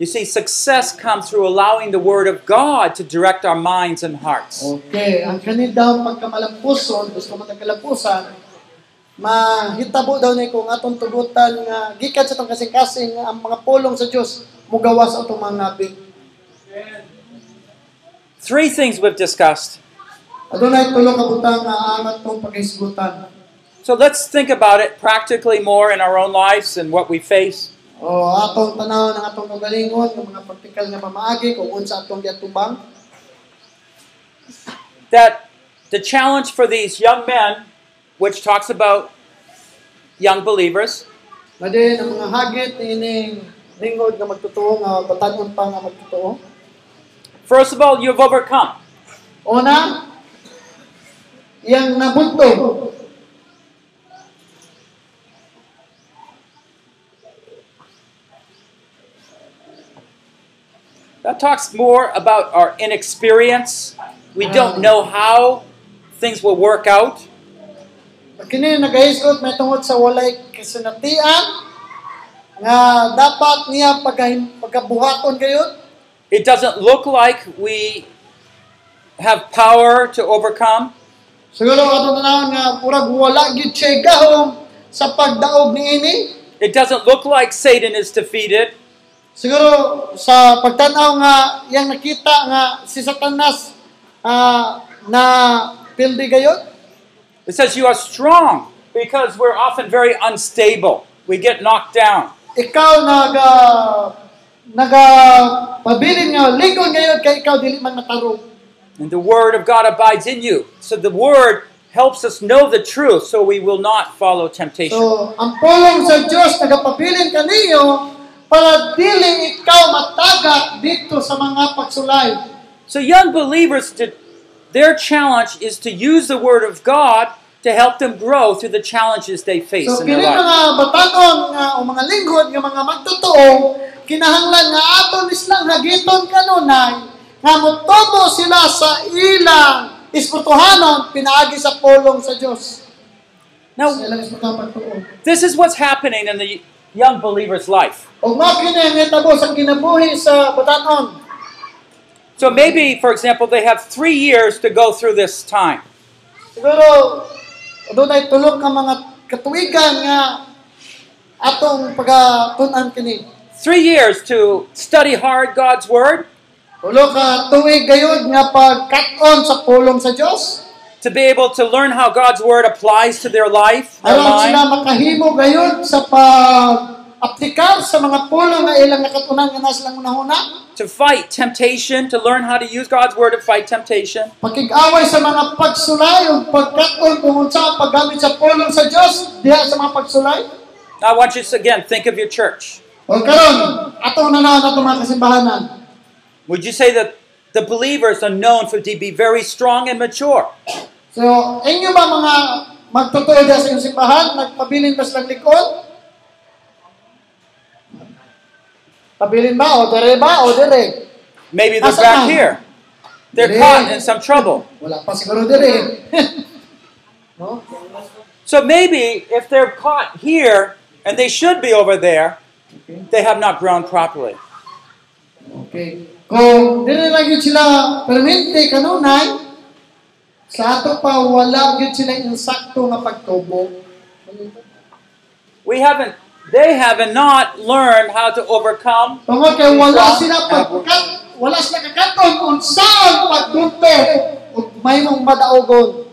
[SPEAKER 3] You see, success comes through allowing the Word of God to direct our minds and hearts.
[SPEAKER 2] Oh. Okay, ang kanil daw pagkamalampuson, gusto man ang kalampusan, mahitabo daw ni kung atong tugutan nga gikan sa itong kasing-kasing nga ang mga pulong sa Dios mugawa sa atong mga nabi.
[SPEAKER 3] Three things we've discussed.
[SPEAKER 2] Adunay tulo ka butang nga ang atong paghisgutan.
[SPEAKER 3] So let's think about it practically more in our own lives and what we face.
[SPEAKER 2] O atong tanaw ng atong kagalingon, ng mga praktikal nga pamaagi kung unsa atong giatubang.
[SPEAKER 3] That the challenge for these young men, which talks about young believers,
[SPEAKER 2] Na din ang mga hagit ining lingod nga magtutuo nga batanon pa nga magtutuo.
[SPEAKER 3] first of all, you've overcome.
[SPEAKER 2] Una, iyang nabunto.
[SPEAKER 3] That talks more about our inexperience. We don't know how things will work out.
[SPEAKER 2] Kini nagahisgot may tungod sa walay kasinatian nga dapat niya pagka- pagkabuhaton gayud.
[SPEAKER 3] It doesn't look like we have power to overcome.
[SPEAKER 2] Siguro ato tanawon nga purag wala gyud siya gahom sa pagdaog niini.
[SPEAKER 3] It doesn't look like Satan is defeated.
[SPEAKER 2] Siguro sa pagtanaw nga yang nakita nga si Satanas ah, na pildi gayud.
[SPEAKER 3] It says you are strong because we're often very unstable. We get knocked down.
[SPEAKER 2] ikaw naga naga ah, pabilin nga lingon ngayon kay ikaw dili man matarong.
[SPEAKER 3] And the word of God abides in you. So the word helps us know the truth so we will not follow temptation.
[SPEAKER 2] So, ang pulong sa Dios nagapabilin kaniyo para dili ikaw mataga dito sa mga pagsulay.
[SPEAKER 3] so young believers to, their challenge is to use the word of God to help them grow through the challenges they face
[SPEAKER 2] So,
[SPEAKER 3] in their
[SPEAKER 2] kini
[SPEAKER 3] life.
[SPEAKER 2] mga batanon nga o mga lingkod nga mga magtotoo kinahanglan nga aton islang hagiton kanunay nga motobo sila sa ilang espirituhanon pinaagi sa pulong sa Dios. Sa
[SPEAKER 3] Now,
[SPEAKER 2] ilang espirituhanon pagtuo.
[SPEAKER 3] this is what's happening in the young believer's life.
[SPEAKER 2] O makina nga tabo sa kinabuhi sa butanon.
[SPEAKER 3] So maybe, for example, they have three years to go through this time.
[SPEAKER 2] Siguro, doon ay tulog ka mga katuwigan nga atong pagatunan kini.
[SPEAKER 3] Three years to study hard God's word,
[SPEAKER 2] Tulog ka tuwig gayud nga pagkaton sa pulong sa Dios.
[SPEAKER 3] to be able to learn how God's word applies to their life, their
[SPEAKER 2] Aron
[SPEAKER 3] mind.
[SPEAKER 2] sila makahimo gayud sa pag aplikar sa mga pulong nga ilang nakatunan nga nasa lang unahuna.
[SPEAKER 3] to fight temptation, to learn how to use God's word to fight temptation.
[SPEAKER 2] Pakig-away sa mga pagsulay o pagkaton kung unsa ang paggamit sa pulong sa Dios diha sa mga pagsulay.
[SPEAKER 3] I want you to again think of your church.
[SPEAKER 2] O O karon, ato na na ato mga kasimbahanan.
[SPEAKER 3] Would you say that the believers are known for to be very strong and mature?
[SPEAKER 2] So, inyo ba mga magtotoo dyan sa inyong simbahan, nagpabilin ba silang likod? Pabilin ba? O dere ba? O dere?
[SPEAKER 3] Maybe they're
[SPEAKER 2] Asa
[SPEAKER 3] back
[SPEAKER 2] na?
[SPEAKER 3] here. They're
[SPEAKER 2] Hindi.
[SPEAKER 3] caught in some trouble.
[SPEAKER 2] Wala pa siguro dere. no?
[SPEAKER 3] So maybe if they're caught here and they should be over there, they have not grown properly.
[SPEAKER 2] Okay. Kung dire lang yun sila permente kanunay, sa ato pa wala yun sila insakto nga pagtubo.
[SPEAKER 3] We haven't they haven't not learned how to overcome
[SPEAKER 2] Tungod kay wala sila pagkat, wala sila kakaton kung saan pagdunto ug may mong madaogon.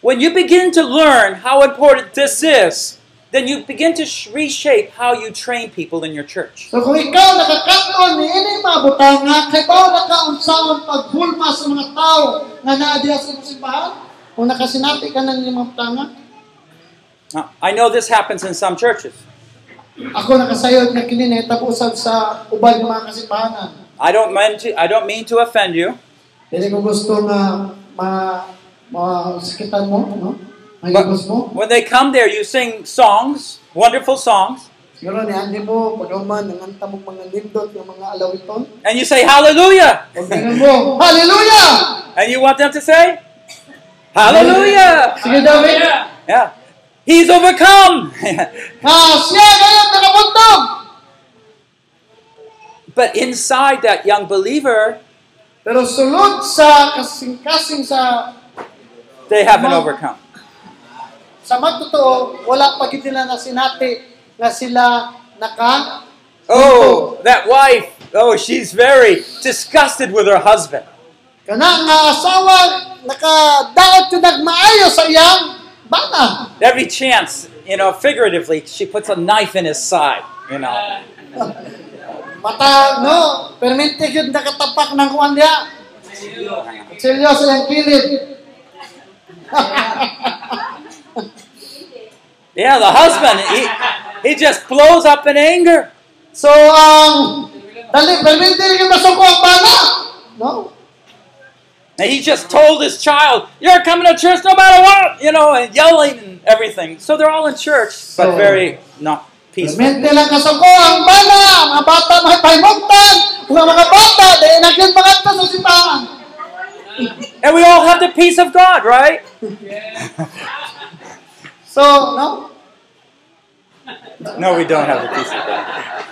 [SPEAKER 3] when you begin to learn how important this is, then you begin to sh- reshape how you train people in your church.
[SPEAKER 2] So kung ikaw nakakaton ni ini mabutan nga kay bao na ka unsaon paghulma sa mga tao nga naa diha sa imong simbahan, kung nakasinati ka ng imong tanga,
[SPEAKER 3] Now, I know this happens in some churches.
[SPEAKER 2] ako nakasayod nga kini nahitabo usab sa uban nga mga kasimbahanan.
[SPEAKER 3] I don't mean to I don't mean to offend you,
[SPEAKER 2] Hindi ko gusto na ma masakitan mo, no?
[SPEAKER 3] but
[SPEAKER 2] Mayigos mo.
[SPEAKER 3] when they come there you sing songs, wonderful songs,
[SPEAKER 2] Siguro ni Andy mo, paduman, ang anta mong mga lindot, ng mga alawiton.
[SPEAKER 3] and you say hallelujah.
[SPEAKER 2] Huwag tingnan mo, Hallelujah!
[SPEAKER 3] And you want them to say, Hallelujah!
[SPEAKER 2] Sige, David.
[SPEAKER 3] Yeah. He's overcome!
[SPEAKER 2] Ah, siya ngayon nakabuntog!
[SPEAKER 3] but inside that young believer,
[SPEAKER 2] Pero sulod sa kasing-kasing sa
[SPEAKER 3] they haven't overcome.
[SPEAKER 2] sa magtotoo, wala pa gid nila na sinati na sila naka
[SPEAKER 3] Oh, that wife, oh, she's very disgusted with her husband.
[SPEAKER 2] kana nga asawa nakadaot jud nagmaayo sa iyang bana.
[SPEAKER 3] Every chance, you know, figuratively, she puts a knife in his side, you know.
[SPEAKER 2] Mata, no? Permente yun nakatapak ng kuwan niya. Seryoso yung kilid.
[SPEAKER 3] Yeah, the husband, he, he just blows up in anger.
[SPEAKER 2] So, ang... dali, permente yun masuko ang bana. No?
[SPEAKER 3] And he just told his child, You're coming to church no matter what, you know, and yelling and everything. So they're all in church, but
[SPEAKER 2] So-
[SPEAKER 3] very not peaceful.
[SPEAKER 2] Permente lang kasuko ang bana. Mga bata may paimugtan. Mga mga bata, dahil nagyan mga ito sa simbahan.
[SPEAKER 3] And we all have the peace of God, right?
[SPEAKER 2] So, no?
[SPEAKER 3] No, we don't have the peace of God.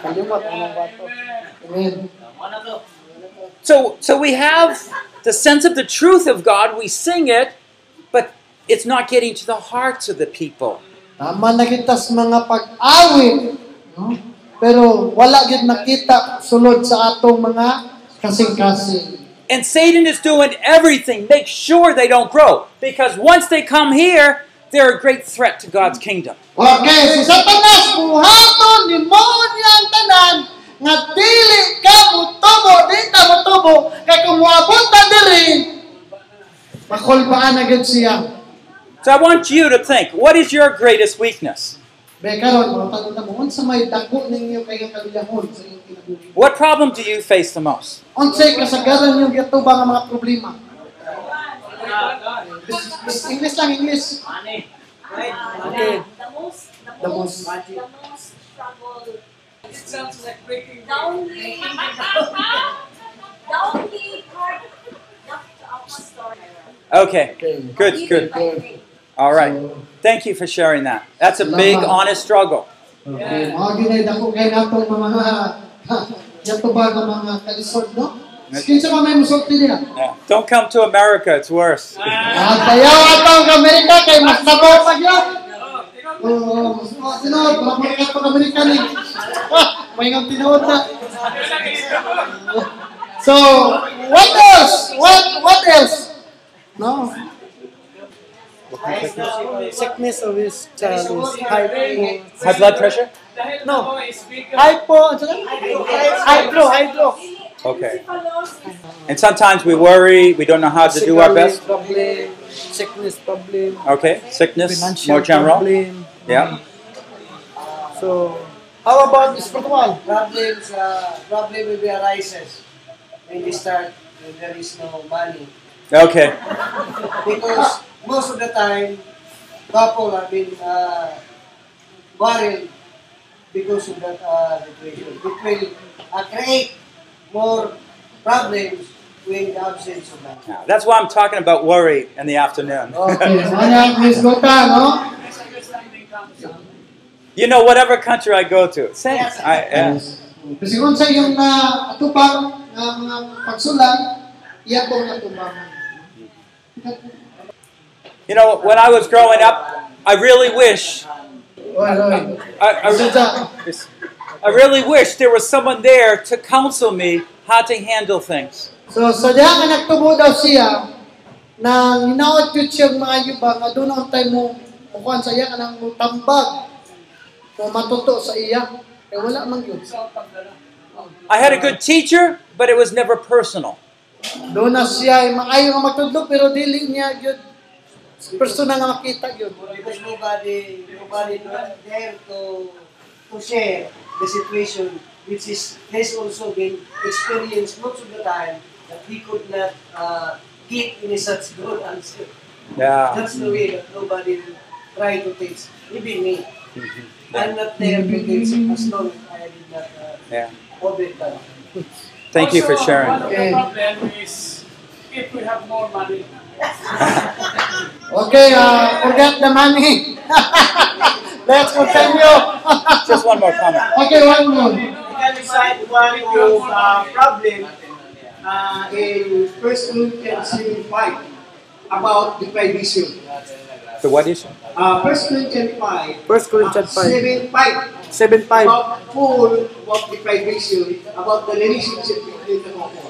[SPEAKER 2] Kalimot, anong bato? Amen.
[SPEAKER 3] So, so we have the sense of the truth of God. We sing it, but it's not getting to the hearts of the people.
[SPEAKER 2] Tama na kita sa mga pag-awit. No? Pero wala gid nakita sulod sa atong mga kasing-kasing.
[SPEAKER 3] And Satan is doing everything. Make sure they don't grow, because once they come here, they're a great threat to God's kingdom.
[SPEAKER 2] Okay, si Satanas, buhaton ni mo niyang tanan, nga dili ka mutubo, di ta mutubo, kay kung moabot ta diri, makulbaan na gid siya.
[SPEAKER 3] So I want you to think: What is your greatest weakness?
[SPEAKER 2] Be karon, mga tanong na mo, unsa may dako ninyo kay ang kaliyahon sa inyong kinabuhi?
[SPEAKER 3] What problem do you face the most?
[SPEAKER 2] Unsay kasagaran yung gitubang ang mga problema? English lang, English.
[SPEAKER 6] Okay. Um, The most, the
[SPEAKER 2] most.
[SPEAKER 6] most, the most trouble. It sounds like breaking. The only, the only part of the story.
[SPEAKER 3] Okay, good,
[SPEAKER 6] Even
[SPEAKER 3] good.
[SPEAKER 6] by faith.
[SPEAKER 3] All right. Thank you for sharing that. That's a big, honest struggle.
[SPEAKER 2] Okay. Mga ginay, dako kay natong mga yatubang ang mga kalisod, no? Kinsa pa may musulti niya?
[SPEAKER 3] Yeah. Don't come to America; it's worse.
[SPEAKER 2] Natayaw atong ka Amerika kay mas sabaw pa yun. Oo, mas mga tinuod, mga mga katong Amerika ni. May ngang Ah, tinuod na. So, what else? What what else? No.
[SPEAKER 5] Sickness of his child is hypo.
[SPEAKER 3] High blood pressure.
[SPEAKER 5] No. Hypo, ano na? Hydro, hydro.
[SPEAKER 3] Okay. And sometimes we worry, we don't know how to do our best.
[SPEAKER 5] Problem, sickness problem,
[SPEAKER 3] Okay, sickness,
[SPEAKER 5] financial
[SPEAKER 3] more general.
[SPEAKER 5] problem.
[SPEAKER 3] Yeah.
[SPEAKER 5] So,
[SPEAKER 2] How about spiritual?
[SPEAKER 7] Problems, uh, problem will be arises when you start when there is no money.
[SPEAKER 3] Okay.
[SPEAKER 7] Because most of the time, couple have been uh, worried because of that uh, situation. It will uh, create more problems with the absence of money.
[SPEAKER 3] Now, that's why I'm talking about worry in the afternoon.
[SPEAKER 5] Oh.
[SPEAKER 2] Okay, sana Miss Gota, no?
[SPEAKER 3] You know, whatever country I go to, same.
[SPEAKER 7] Yes.
[SPEAKER 3] I, yeah.
[SPEAKER 2] Kasi kung sa iyong na atupang nga mga pagsulan, iya po na tubangan.
[SPEAKER 3] You know, when I was growing up, I really wish,
[SPEAKER 2] Oy, oy.
[SPEAKER 3] I, I,
[SPEAKER 2] Sa-
[SPEAKER 3] I really wish there was someone there to counsel me how to handle things.
[SPEAKER 2] So, sa diha nga nagtubo daw siya, na hinaot yun siya mga yuba, nga doon ang time mo, mukuhan sa iya, kanang tambag, na matuto sa iya. Eh, wala man yun.
[SPEAKER 3] I had a good teacher, but it was never personal.
[SPEAKER 2] Doon na siya, ay maayo nga magtudlo, pero dili niya yun. Personal nga makita yun.
[SPEAKER 7] Because nobody, nobody not there to to share the situation, which is has also been experienced most of the time that we could not uh, give any such good answer.
[SPEAKER 3] Yeah.
[SPEAKER 7] That's the way that nobody will try to fix. Even me, I'm not there to fix it as long as I did not uh,
[SPEAKER 3] Yeah.
[SPEAKER 7] open that.
[SPEAKER 3] Thank you for
[SPEAKER 8] Also, One
[SPEAKER 3] sharing.
[SPEAKER 8] of
[SPEAKER 2] Okay.
[SPEAKER 8] the problem is if we have more money.
[SPEAKER 2] Okay, uh, forget the money. Let's continue.
[SPEAKER 3] Just one more comment.
[SPEAKER 2] okay, one more.
[SPEAKER 8] can decide one of uh, problem uh, in First Corinthians 5 about the division.
[SPEAKER 3] The what is
[SPEAKER 8] Uh, First Corinthians 5,
[SPEAKER 9] First
[SPEAKER 8] uh,
[SPEAKER 9] Corinthians
[SPEAKER 8] 7,
[SPEAKER 9] 5,
[SPEAKER 8] 5,
[SPEAKER 9] 7 5.
[SPEAKER 8] about full of deprivation, about the relationship between the couple.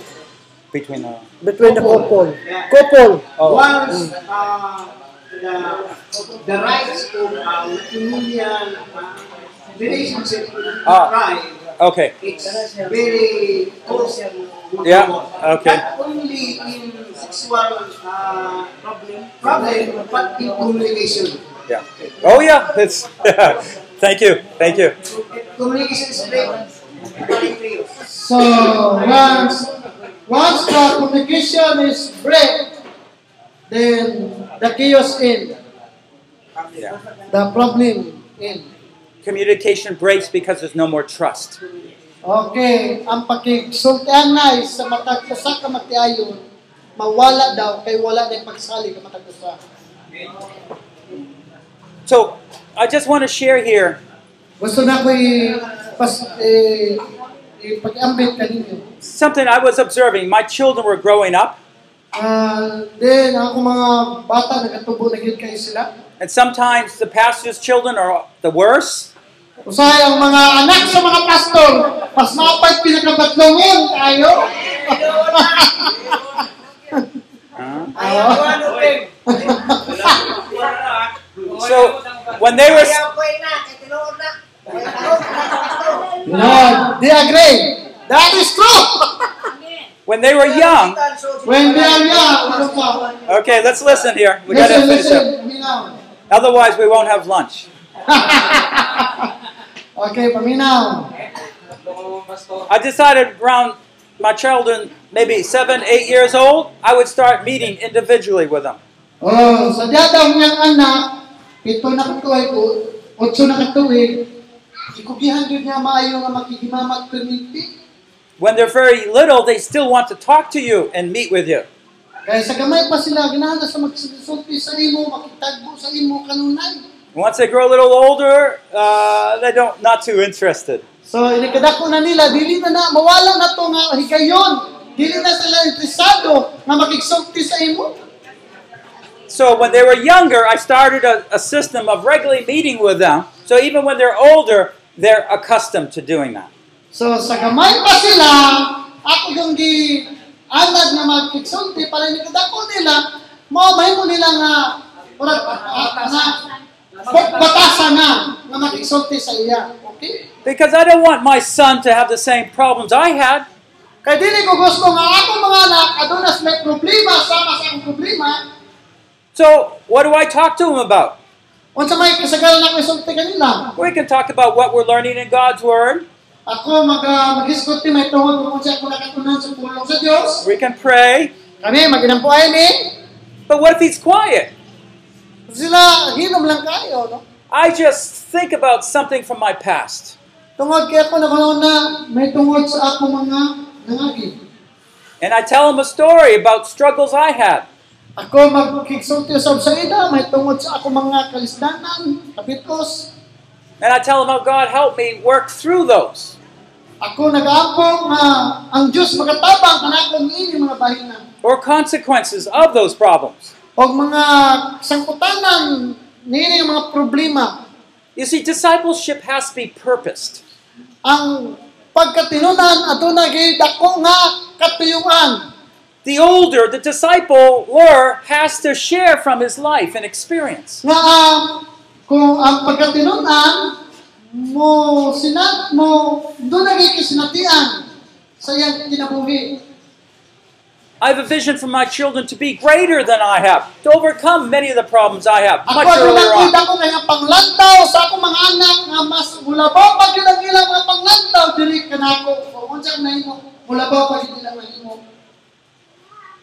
[SPEAKER 3] between the?
[SPEAKER 9] Between the couple.
[SPEAKER 8] Yeah.
[SPEAKER 9] Couple.
[SPEAKER 3] Oh.
[SPEAKER 8] Once uh, the, the rights of uh, Indian uh, relationship with
[SPEAKER 3] Ah.
[SPEAKER 8] tribe,
[SPEAKER 3] Okay.
[SPEAKER 8] it's very close. with
[SPEAKER 3] Yeah,
[SPEAKER 8] the world.
[SPEAKER 3] okay.
[SPEAKER 8] Not only in sexual uh, problem, problem, but in communication.
[SPEAKER 3] Yeah. Oh yeah. It's. Thank you. Thank you.
[SPEAKER 8] Communication is very very
[SPEAKER 2] So, once, once the communication is break, then the chaos in,
[SPEAKER 3] Yeah.
[SPEAKER 2] the problem in.
[SPEAKER 3] Communication breaks because there's no more trust.
[SPEAKER 2] Okay, ang pakigsultian na is sa matag usa ka matiayon, mawala daw kay wala na yung pagsali ka matag usa.
[SPEAKER 3] So I just want to share here
[SPEAKER 2] Gusto na ko i pas eh, ipag-ambit kaninyo.
[SPEAKER 3] something I was observing. My children were growing up,
[SPEAKER 2] Ah, then ako mga bata nagatubo na gyud kay sila.
[SPEAKER 3] and sometimes the pastor's children are the worst.
[SPEAKER 2] Usahay ang mga anak sa mga pastor, mas mapag pinakabatlongon tayo.
[SPEAKER 7] I am one of them.
[SPEAKER 3] So when they were
[SPEAKER 7] Kaya ako ay na, kaya tinuod na. Kaya ako, nakakatawa.
[SPEAKER 2] No, they agree. That is true.
[SPEAKER 3] when they were young.
[SPEAKER 2] When they are young, ano ka?
[SPEAKER 3] Okay, let's listen here. We
[SPEAKER 2] Listen,
[SPEAKER 3] gotta finish
[SPEAKER 2] listen,
[SPEAKER 3] up.
[SPEAKER 2] paminaw.
[SPEAKER 3] Otherwise, we won't have lunch.
[SPEAKER 2] Okay, paminaw.
[SPEAKER 3] I decided around my children, maybe seven, eight years old, I would start meeting individually with them.
[SPEAKER 2] Oh, sa diya daw niyang anak, pito na katuwig, o otso na katuwig, ikugihan yun niya maayo nga makikimamat tumiti.
[SPEAKER 3] When they're very little, they still want to talk to you and meet with you.
[SPEAKER 2] Kaya sa kamay pa sila, ginahan na sa magsisulti sa imo, makitagbo sa imo kanunay.
[SPEAKER 3] Once they grow a little older, uh, they don't not too interested.
[SPEAKER 2] So, inikadako na nila, dili na na, mawala na to nga higayon. Dili na sila interesado nga makiksulti sa imo.
[SPEAKER 3] So when they were younger, I started a, a system of regularly meeting with them. So even when they're older, they're accustomed to doing that.
[SPEAKER 2] So, sa gamay pa sila, ako yung gi anad na magkiksulti para nikadako nila, maumay mo nila nga, ora, ah, na, ba- batasan na, na magkiksulti sa iya. Okay?
[SPEAKER 3] Because I don't want my son to have the same problems I had.
[SPEAKER 2] Kaya dili ko gusto nga ako mga anak, adunas may problema, sama sa akong problema,
[SPEAKER 3] So what do I talk to him about?
[SPEAKER 2] Unsa may kasagaran ako isulti kanila?
[SPEAKER 3] We can talk about what we're learning in God's Word.
[SPEAKER 2] Ako mag uh, maghisgot ti may tungod kung unsa ako nakatunan sa pulong sa Dios.
[SPEAKER 3] We can pray.
[SPEAKER 2] Kami maginampuay ni
[SPEAKER 3] But what if He's quiet?
[SPEAKER 2] sila hinom lang kayo no.
[SPEAKER 3] I just think about something from my past.
[SPEAKER 2] Tungod kay ako nakaroon na may tungod sa ako mga nangagi.
[SPEAKER 3] And I tell him a story about struggles I had.
[SPEAKER 2] Ako magkiksulti sa usaida may tungod sa ako mga kalisdanan, kapitos.
[SPEAKER 3] And I tell him how God helped me work through those.
[SPEAKER 2] Ako nag-ampong nga ang Dios magatabang kanakong ini mga bahina.
[SPEAKER 3] or consequences of those problems.
[SPEAKER 2] o mga sangkutanan nini ang mga problema
[SPEAKER 3] You see, discipleship has to be purposed.
[SPEAKER 2] ang pagkatinunan aduna gid dako nga katuyuan
[SPEAKER 3] The older the disciple or has to share from his life and experience.
[SPEAKER 2] nga ang kung ang pagkatinunan mo sinat mo duna gid kasinatian sa iyang kinabuhi
[SPEAKER 3] I have a vision for my children to be greater than I have, to overcome many of the problems I have
[SPEAKER 2] ako
[SPEAKER 3] much
[SPEAKER 2] aduna
[SPEAKER 3] earlier
[SPEAKER 2] gid
[SPEAKER 3] on.
[SPEAKER 2] ako kaya panglantaw sa akong mga anak nga mas mulabaw pa gyud ang ilang mga panglantaw diri kanako kung unsa ang nahimo mulabaw pa gyud ilang nahimo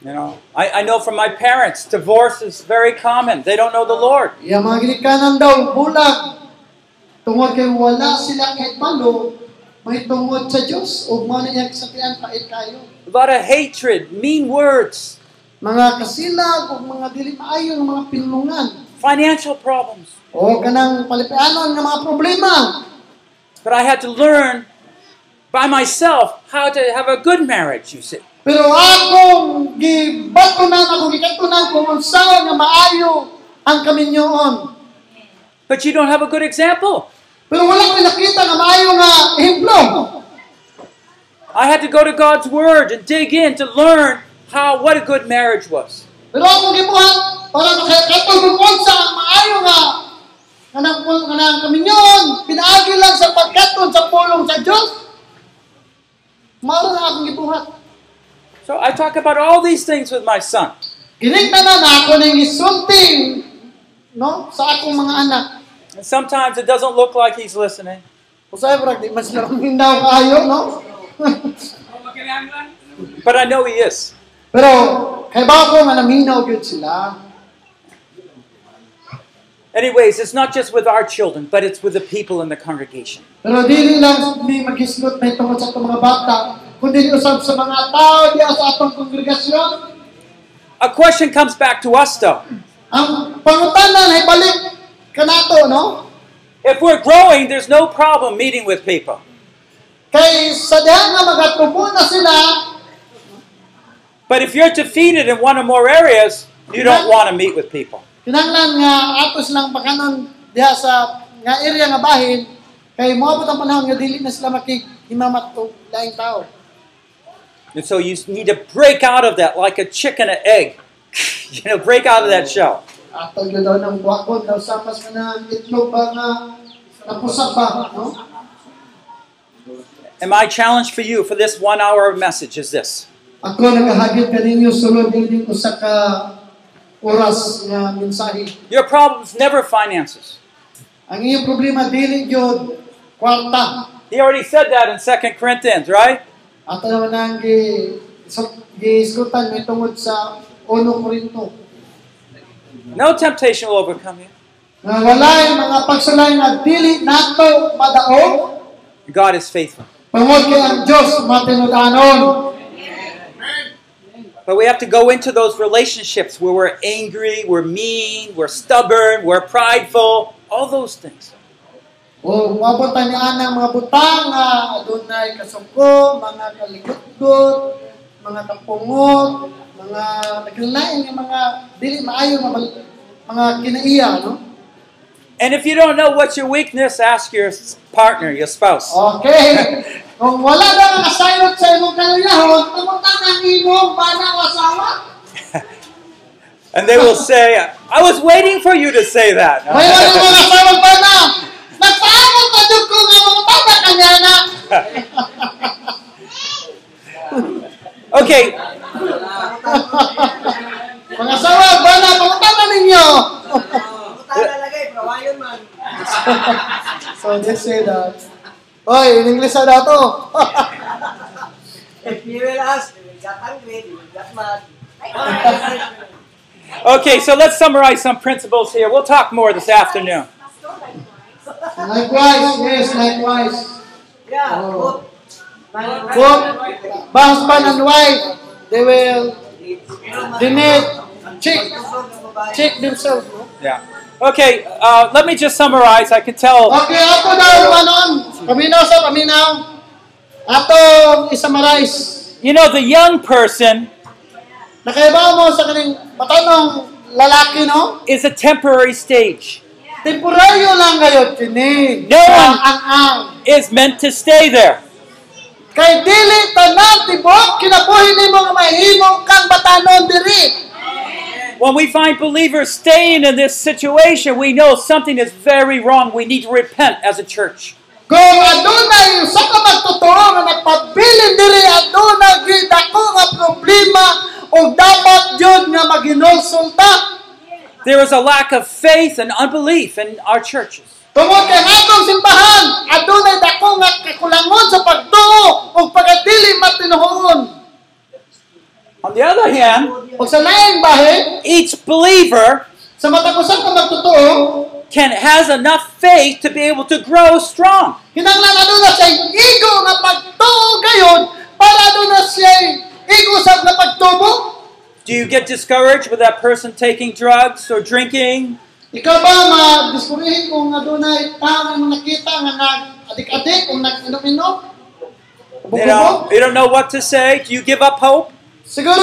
[SPEAKER 3] You know, I, I know from my parents, divorce is very common. They don't know the Lord.
[SPEAKER 2] Iya mga ginikanan daw, bulag. Tungod kay wala sila kahit malo, may tungod sa Diyos, o mga niya kasapian, pait kayo.
[SPEAKER 3] A lot of hatred, mean words,
[SPEAKER 2] Mga kasilag, o mga dili maayo, nga mga pinulungan.
[SPEAKER 3] financial problems.
[SPEAKER 2] O kanang palipianon ng mga problema.
[SPEAKER 3] But I had to learn by myself how to have a good marriage, you see.
[SPEAKER 2] Pero akong gibatunan, akong gikatunan, kung unsaon nga maayo ang kaminyoon.
[SPEAKER 3] But you don't have a good example.
[SPEAKER 2] Pero wala ko nakita nga maayo nga ehemplo.
[SPEAKER 3] I had to go to God's Word and dig in to learn how what a good marriage was.
[SPEAKER 2] Pero ako gibuhat para makatulong unsa ang maayo nga kanang kanang kaminyon pinaagi lang sa pagkaton sa pulong sa Dios. Mao na akong gibuhat.
[SPEAKER 3] So I talk about all these things with my son.
[SPEAKER 2] Ginikta na na ako ning isulti no sa akong mga anak.
[SPEAKER 3] And sometimes it doesn't look like he's listening.
[SPEAKER 2] Usay brag di mas naramindaw kaayo no.
[SPEAKER 3] But I know he is.
[SPEAKER 2] Pero kay ba ko nga naminaw gyud sila.
[SPEAKER 3] Anyways, it's not just with our children, but it's with the people in the congregation.
[SPEAKER 2] Pero dili lang ni maghisgot na tungod sa atong mga bata, kundi usab sa mga tao diya sa atong kongregasyon
[SPEAKER 3] A question comes back to us though.
[SPEAKER 2] Ang pangutanan ay balik kanato, no?
[SPEAKER 3] If we're growing, there's no problem meeting with people.
[SPEAKER 2] Kay sa diha nga magatubo na sila,
[SPEAKER 3] But if you're defeated in one or more areas, you don't want to meet with people.
[SPEAKER 2] kinanglan nga ato silang pakanon diha sa nga area nga bahin, kay moabot ang panahon nga dili na sila makihimamat og laing tao.
[SPEAKER 3] And so you need to break out of that like a chicken and egg. You know, break out of that shell.
[SPEAKER 2] Ato gyud daw ng buakon daw sa mas na itlog ba nga napusap ba, no?
[SPEAKER 3] And my challenge for you for this one hour of message is this
[SPEAKER 2] Ako nagahagit kaninyo sulod din usa ka oras nga mensahe.
[SPEAKER 3] Your problem's never finances.
[SPEAKER 2] Ang iyong problema dili gyud kwarta.
[SPEAKER 3] He already said that in Second Corinthians, right?
[SPEAKER 2] Ato naman ang gi- so- giisgutan may tungod sa 1 Korinto.
[SPEAKER 3] No temptation will overcome you.
[SPEAKER 2] Nga walay mga pagsulay na dili nato madaog,
[SPEAKER 3] God is faithful.
[SPEAKER 2] pangod kay ang Diyos matinudanon.
[SPEAKER 3] But we have to go into those relationships where we're angry, we're mean, we're stubborn, we're prideful, all those things.
[SPEAKER 2] O mabot ni anang mga butang nga adunay kasungko, mga kaligutgot, mga kapungot, mga naglain nga mga dili maayo nga mal- mga kinaiya, no?
[SPEAKER 3] And if you don't know what's your weakness, ask your s- partner, your spouse.
[SPEAKER 2] Okay. Kung wala na nga kasayot sa imong kaluyahon, tumutan ang imong banaw asawa.
[SPEAKER 3] And they will say, I was waiting for you to say
[SPEAKER 2] May wala
[SPEAKER 3] that.
[SPEAKER 2] mga kasayot ba na? Nagpaabot na dyan ko nga mga tata kanya na.
[SPEAKER 3] Okay,
[SPEAKER 2] Mga asawa ba na? Pangutana ninyo.
[SPEAKER 7] Puta na lagay, bro. Ayaw
[SPEAKER 2] So just say that. Oy, in English na dato.
[SPEAKER 7] If you will ask, you will get angry, you will get mad.
[SPEAKER 3] Okay, so let's summarize some principles here. We'll talk more this afternoon.
[SPEAKER 5] Likewise, yes, likewise.
[SPEAKER 7] Yeah,
[SPEAKER 5] Oh.
[SPEAKER 7] cook. Man,
[SPEAKER 2] Cook. Ba husband and wife, they will they need check check themselves. no?
[SPEAKER 3] Yeah. Okay, uh, let me just summarize. I can tell.
[SPEAKER 2] Okay, ato daw anon. Paminaw sa paminaw. Ato isummarize.
[SPEAKER 3] You know, the young person
[SPEAKER 2] Nakaiba mo sa kaning batanong lalaki no?
[SPEAKER 3] is a temporary stage,
[SPEAKER 2] Temporaryo lang kayo kini.
[SPEAKER 3] No one-
[SPEAKER 2] ang ang.
[SPEAKER 3] is meant to stay there.
[SPEAKER 2] Kay dili tanan tibok kinabuhi nimo nga mahimo kang batanon diri.
[SPEAKER 3] When we find believers staying in this situation, we know something is very wrong. We need to repent as a church.
[SPEAKER 2] Kung adunay usa ka magtotoo nga nagpabilin diri adunay gid ako nga problema ug dapat jud nga maginulsulta.
[SPEAKER 3] There is a lack of faith and unbelief in our churches.
[SPEAKER 2] Tungod kay atong simbahan adunay dako nga kakulangon sa pagtuo ug pagadili matinuhon.
[SPEAKER 3] On the other hand,
[SPEAKER 2] Ug sa laing bahin
[SPEAKER 3] each believer
[SPEAKER 2] sa matag usa ka magtotoo
[SPEAKER 3] can has enough faith to be able to grow strong.
[SPEAKER 2] Kinanglan ano na siya igo nga pagtuo gayon para ano na siya igo sa nga pagtubo?
[SPEAKER 3] Do you get discouraged with that person taking drugs or drinking?
[SPEAKER 2] Ikaw ba madiskurihin kung adunay tao nga nakita nga nag adik-adik o nag-inom-inom?
[SPEAKER 3] You don't,
[SPEAKER 2] Bukubo?
[SPEAKER 3] you don't know what to say. Do you give up hope?
[SPEAKER 2] Siguro,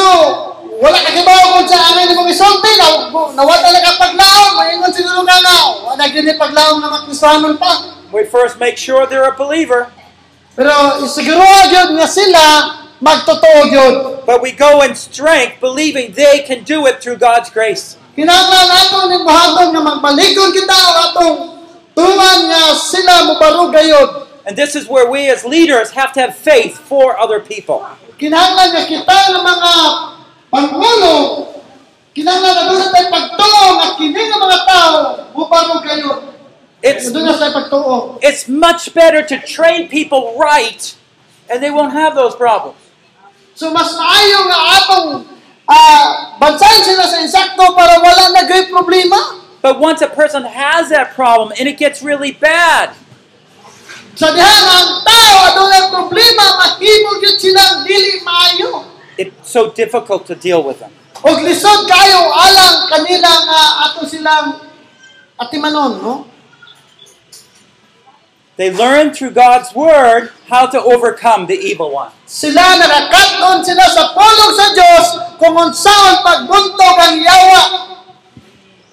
[SPEAKER 2] wala ka kibaw kung sa amin mong isulti na, na wala na ka paglaom. Mayroon siguro ka na, wala gini paglaom na makristanon pa.
[SPEAKER 3] We first make sure they're a believer,
[SPEAKER 2] Pero siguro yun nga sila magtotoo yun.
[SPEAKER 3] but we go in strength believing they can do it through God's grace.
[SPEAKER 2] Kinanglan ato ni Buhatong na magbalikon kita o atong tuwan nga sila mubarog gayod.
[SPEAKER 3] And this is where we as leaders have to have faith for other people.
[SPEAKER 2] Kinanglan nga kita ng mga pangulo. Kinanglan na doon tayo pagtuo nga kini nga mga tao mubarog gayod.
[SPEAKER 3] It's,
[SPEAKER 2] Doon na tayo pagtuo.
[SPEAKER 3] it's much better to train people right and they won't have those problems.
[SPEAKER 2] So mas maayo nga atong ah bansayan sila sa insakto para wala na gay problema.
[SPEAKER 3] But once a person has that problem and it gets really bad,
[SPEAKER 2] Sa diha nga ang tao adunay problema mahimo gyud silang dili maayo.
[SPEAKER 3] it's so difficult to deal with them.
[SPEAKER 2] Og lisod kayo alang kanila nga ato silang atimanon, no?
[SPEAKER 3] They learn through God's word how to overcome the evil one.
[SPEAKER 2] Sila nakakaton sila sa pulong sa Dios kung unsaon pagbuntog ang yawa.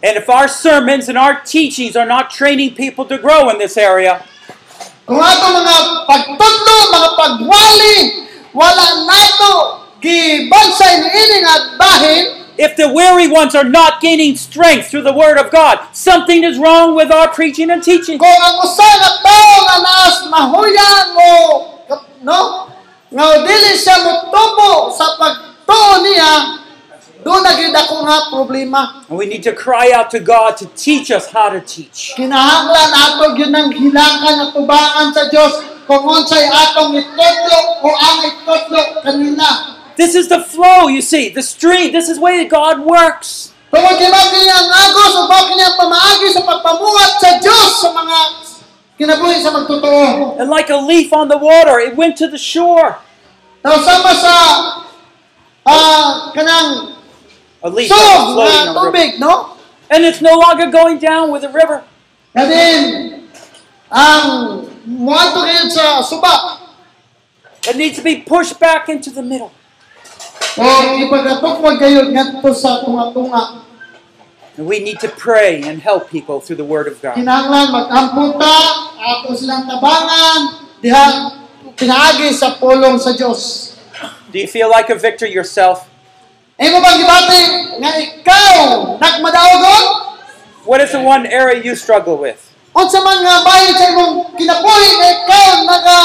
[SPEAKER 3] And if our sermons and our teachings are not training people to grow in this area,
[SPEAKER 2] Kung ato mga pagtudlo, mga pagwali, wala nato gibansay niini nga bahin
[SPEAKER 3] if the weary ones are not gaining strength through the word of God, something is wrong with our preaching and teaching.
[SPEAKER 2] kung ang usa nga tawo nga naas mahuya mo no nga dili siya motubo sa pagtuo niya doon na gid ako nga problema
[SPEAKER 3] And we need to cry out to God to teach us how to teach.
[SPEAKER 2] Kinahanglan ato yun ang hilakan at tubangan sa Dios kung unsay atong itudlo o ang itudlo kanila.
[SPEAKER 3] This is the flow, you see, the stream. This is the way that God works.
[SPEAKER 2] Tungod kay bakit niya ang agos o bakit niya ang pamaagi sa pagpamuhat sa Dios sa mga kinabuhi sa magtotoo.
[SPEAKER 3] And like a leaf on the water, it went to the shore.
[SPEAKER 2] Nausama sa ah kanang
[SPEAKER 3] A leaf that was
[SPEAKER 2] sug
[SPEAKER 3] floating
[SPEAKER 2] na
[SPEAKER 3] on the river.
[SPEAKER 2] tubig, no?
[SPEAKER 3] And it's no longer going down with the river.
[SPEAKER 2] Kadin, ang muhato kayo sa suba
[SPEAKER 3] It needs to be pushed back into the middle.
[SPEAKER 2] o ipagatukmod kayo ngadto sa tunga-tunga.
[SPEAKER 3] And we need to pray and help people through the Word of God.
[SPEAKER 2] kinahanglan magamputa ato silang tabangan diha pinaagi sa pulong sa Dios.
[SPEAKER 3] Do you feel like a victor yourself?
[SPEAKER 2] Imo bang gibati nga ikaw nagmadaogon?
[SPEAKER 3] What is the one area you struggle with?
[SPEAKER 2] Unsa man nga bayo sa imong kinabuhi nga ikaw naga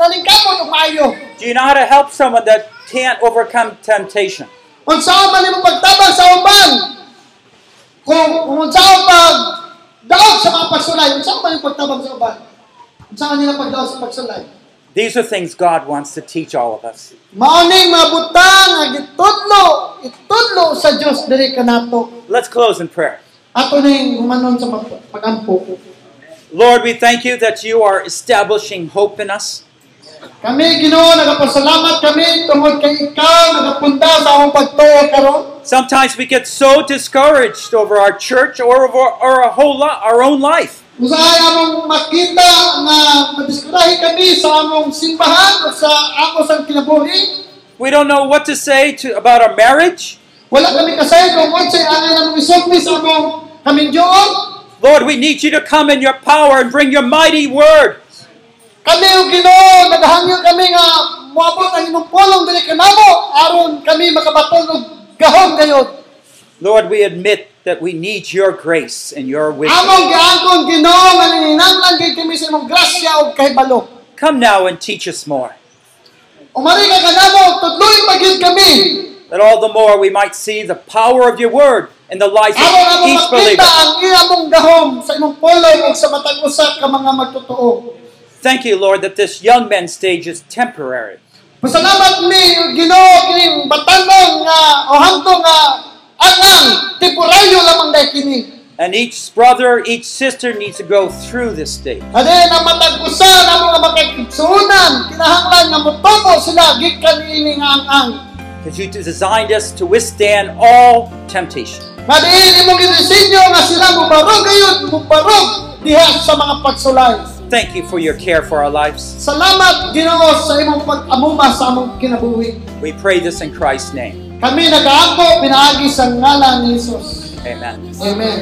[SPEAKER 2] naningkamot og maayo?
[SPEAKER 3] Do you know how to help someone that can't overcome temptation?
[SPEAKER 2] Unsa man imong pagtabang sa uban? Kung kung unsa ang pag daog sa mga pagsulay, unsa man yung pagtabang sa uban? Unsa nila pagdaw sa pagsulay?
[SPEAKER 3] These are things God wants to teach all of us.
[SPEAKER 2] Maoning mabutang nga gitudlo, itudlo sa Dios diri kanato.
[SPEAKER 3] Let's close in prayer.
[SPEAKER 2] Ato ning humanon sa mag- pagampo.
[SPEAKER 3] Lord, we thank you that you are establishing hope in us.
[SPEAKER 2] Kami Ginoo nagapasalamat kami tungod kay ikaw nagapunda sa among pagtuo karon.
[SPEAKER 3] Sometimes we get so discouraged over our church or over or our whole lot, our own life.
[SPEAKER 2] Usahay among makita nga madiskurahi kami sa among simbahan o sa ako sa kinabuhi.
[SPEAKER 3] We don't know what to say to, about our marriage.
[SPEAKER 2] Wala kami kasay kung unsay angay namong isugni sa among kaming Diyon.
[SPEAKER 3] Lord, we need you to come in your power and bring your mighty word.
[SPEAKER 2] Kami o Ginoo, nagahangyo kami nga moabot ang imong pulong dili kanamo aron kami makabaton og gahom gayod.
[SPEAKER 3] Lord, we admit that we need your grace and your wisdom.
[SPEAKER 2] Among giangkon Ginoo nga nanginahanglan kay kami sa imong grasya ug kahibalo.
[SPEAKER 3] Come now and teach us more,
[SPEAKER 2] Umari ka kanamo ug tudloy pa gyud kami.
[SPEAKER 3] that all the more we might see the power of your word in the life
[SPEAKER 2] Aron
[SPEAKER 3] of
[SPEAKER 2] among
[SPEAKER 3] each believer.
[SPEAKER 2] makita ang iyamong gahom sa imong pulong ug sa matag usa ka mga magtotoo.
[SPEAKER 3] Thank you, Lord, that this young man stage is temporary.
[SPEAKER 2] Pasalamat mi o Ginoo kining batanong nga o hangtong nga angang temporaryo lamang dai kini.
[SPEAKER 3] And each brother, each sister needs to go through this stage.
[SPEAKER 2] Ano ang matag-usan ang mga makakitsunan, kinahanglan nga mutubo sila gikan ini nga ang-ang.
[SPEAKER 3] Because you designed us to withstand all temptation.
[SPEAKER 2] Madiin imong ginisinyo nga sila mubarog gayud, mubarog diha sa mga pagsulay.
[SPEAKER 3] Thank you for your care for our lives.
[SPEAKER 2] Salamat Ginoo sa imong pag-amuma sa among kinabuhi.
[SPEAKER 3] We pray this in Christ's name.
[SPEAKER 2] Kami nagaako pinaagi sa ngalan ni Jesus.
[SPEAKER 3] Amen.
[SPEAKER 2] Amen.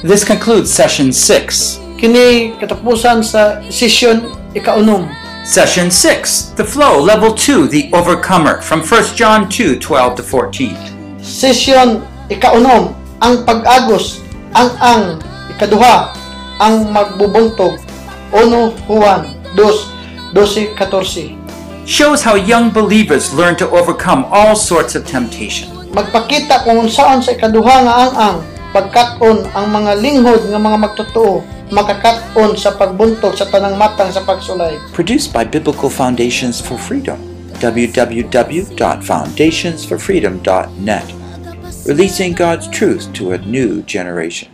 [SPEAKER 1] This concludes session 6.
[SPEAKER 5] Kini katapusan sa session ikaunom.
[SPEAKER 1] Session 6, The Flow, Level 2, The Overcomer, from 1 John 2, 12 to 14.
[SPEAKER 5] Session ikaunom, ang pag-agos, ang ang, ikaduha, ang magbubuntog, Uno Juan, dos, 12, 14.
[SPEAKER 1] Shows how young believers learn to overcome all sorts of temptation.
[SPEAKER 5] Magpakita kung unsaon sa ikaduha nga ang ang, pagkaton ang mga linghod nga mga magtotoo, makakaton sa pagbuntog sa tanang matang sa pagsulay.
[SPEAKER 4] Produced by Biblical Foundations for Freedom. www.foundationsforfreedom.net. Releasing God's truth to a new generation.